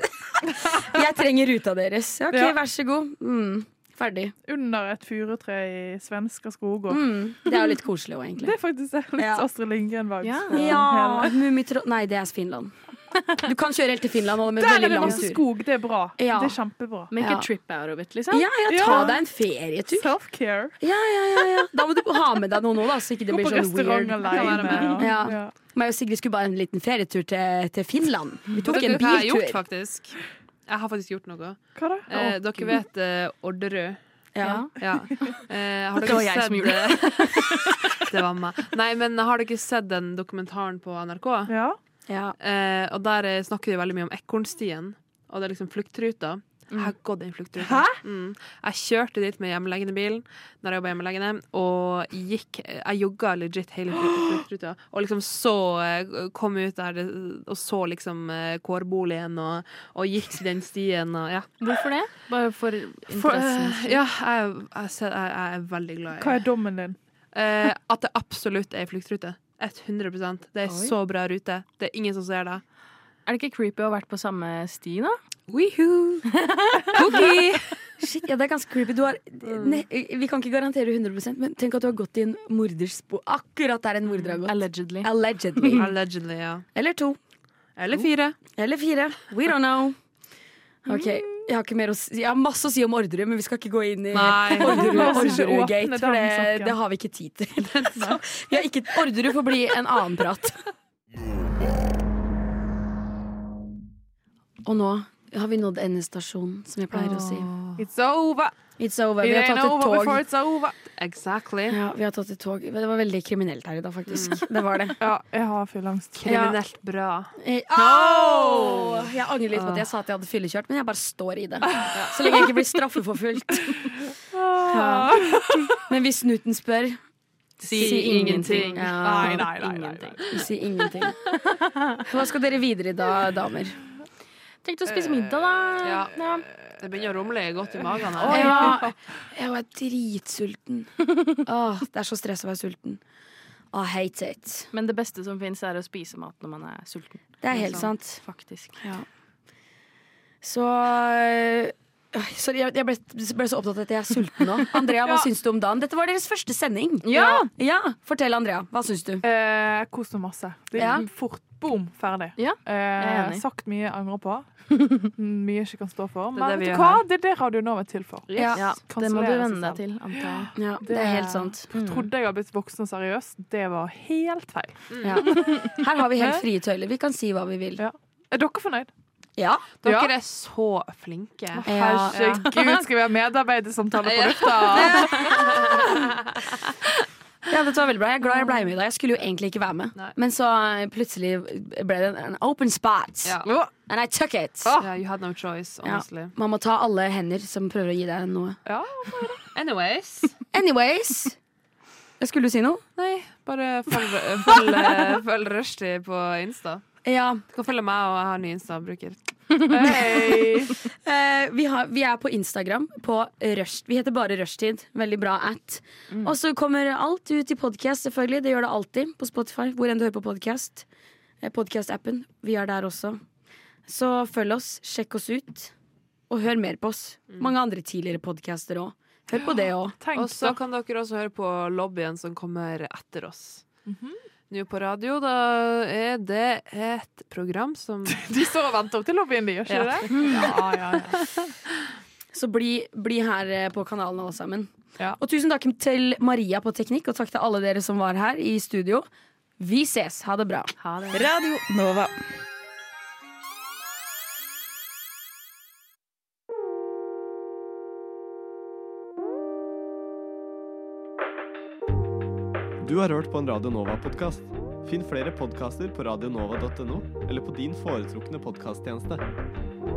jeg trenger ruta deres. Ja, OK, Ja. vær så god. Mm, ferdig. Under et furutre i svenske skoger. Mm, det er jo litt koselig òg, egentlig. Det er faktisk det. litt Astrid Lindgren-vibes. Ja, på hele. mummitro... Nei, det er Finland. Du kan kjøre helt til Finland. og det er en Der er veldig det lang masse tur. skog. Det er bra. Ja. Det er kjempebra. Make a Ja. trip out of it, liksom. Ja, ja, ta deg en ferietur. Self-care. Ja, ja, ja, ja. Da må du ha med deg noen òg, da, så ikke det Gå blir på sånn restaurant weird. alene, Ja. ja. Ja. Meg og Sigrid skulle bare en liten ferietur til, til Finland. Vi tok Dere en vet hva Jeg har gjort, biltur. faktisk. Jeg har faktisk gjort noe. Hva da? Eh, Å, dere Gud. vet eh, Orderød. Ja. Eh, har Det dere var jeg sett, som gjorde det. det var meg. Nei, men har dere sett den dokumentaren på NRK? Ja. Ja. Eh, og der eh, snakker de veldig mye om Ekornstien, og det er liksom fluktruta. Jeg har gått den flukturen. Hæ? Mm. Jeg kjørte dit med hjemmeleggende bilen når jeg jobba hjemmelegende, og gikk Jeg jogga legit hele flu- fluktruta. Og liksom så eh, Kom ut der eh, og så liksom eh, kårboligen, og, og gikk den stien og ja. Hvorfor det? Bare for For, interessen. eh, ja, jeg, jeg, ser- jeg, jeg er veldig glad i Hva er dommen din? Eh, at det absolutt er en fluktrute. 100 Det er Oi. så bra rute. Det er ingen som ser det. Er det ikke creepy å ha vært på samme sti, da? Wihoo! Cookie! Shit, ja, det er ganske creepy. Du har, Mm. ne, vi kan ikke garantere 100 men tenk at du har gått i en morders spor. Akkurat der en morder har gått. Allegedly. Allegedly. Allegedly, ja. Eller to. Eller fire. Eller fire. We don't know. Ok, Jeg har, ikke mer å si. jeg har masse å si om Orderud, men vi skal ikke gå inn i Nei. Orderud La oss ikke Orderud åpne Gate, den for det, saken. det har vi ikke tid til. Så, vi har ikke, Orderud får bli en annen prat. Og nå har vi nådd endestasjonen, som jeg pleier å si. It's over. It's over. Vi It har ain't tatt et over before tog. it's over. Exactly. Ja, vi har tatt et tog. Det var veldig kriminelt her i dag, faktisk. Det var det. Ja, jeg har fylleangst. Kriminelt bra. Eh, au! Jeg angrer litt på at jeg sa at jeg hadde fyllekjørt, men jeg bare står i det. Så lenge jeg ikke blir straffeforfulgt. Ja. Men hvis snuten spør Si ingenting. Nei, nei, nei, nei, nei. Ingenting. Si ingenting. Hva skal dere videre i da, damer? Tenkte å spise middag, da. Ja. Det begynner å rumle godt i magen. her. Jeg var, jeg var dritsulten. Åh, det er så stress å være sulten. I hate it. Men det beste som fins, er å spise mat når man er sulten. Det er helt sant. Faktisk. Så øh, Sorry, jeg jeg ble, ble så opptatt av at jeg er sulten nå. Andrea, hva Ja. syns du om dagen? Dette var deres første sending. Ja. Ja, Fortell, Andrea. Hva syns du? Eh, Kos meg masse. Det Ja. gikk fort. Boom, ferdig. er eh, enig. sagt mye jeg angrer på. Mye jeg ikke kan stå for. Det er Men det vi vet du gjør hva? her. Mm. det er det Radio Nova er til for. Ja, det må du venne Kansellere deg seg selv. til, antar jeg. Ja, det, er helt sant. Trodde jeg hadde blitt voksen og seriøs. Det var helt feil. Ja. Her har vi helt frie tøyler. Vi kan si hva vi vil. Er dere fornøyd? Ja. Dere Ja. er så flinke. Herregud, skal vi ha medarbeidersamtale på Ja. lufta? Ja, dette var veldig bra. Jeg er glad jeg ble med i dag. Jeg skulle jo egentlig ikke være med, men så eh, plutselig ble det en open spot. Ja. And I took it. Ja, you had no choice, Ja. honestly. Man må ta alle hender som prøver å gi deg noe. Anyways. Anyways. Jeg skulle si noe. Nei, bare følg, følg, følg Rushdie på Insta. Ja. Du kan følge meg, og jeg har en ny Insta-bruker. Eh, vi, har, vi er på Instagram på Rush, Vi heter bare Rushtid. Veldig bra at. Og så kommer alt ut i podkast, selvfølgelig. Det gjør det alltid på Spotify. Hvor enn du hører på podkast. Podkast-appen. Vi er der også. Så følg oss, sjekk oss ut, og hør mer på oss. Mange andre tidligere podcaster òg. Hør på det òg. Og så kan dere også høre på lobbyen som kommer etter oss. Mhm. Nå på radio, da er det et program som De står og venter opp til lobbyen, de, gjør ikke Ja. det? Ja, ja, ja. Så bli, bli her eh, på kanalen alle sammen. Og tusen takk til Maria på Teknikk, og takk til alle dere som var her i studio. Vi ses. Ha det bra. Radio Nova. Du har hørt på en Radio Nova-podkast. Finn flere podkaster på radionova.no eller på din foretrukne podkasttjeneste.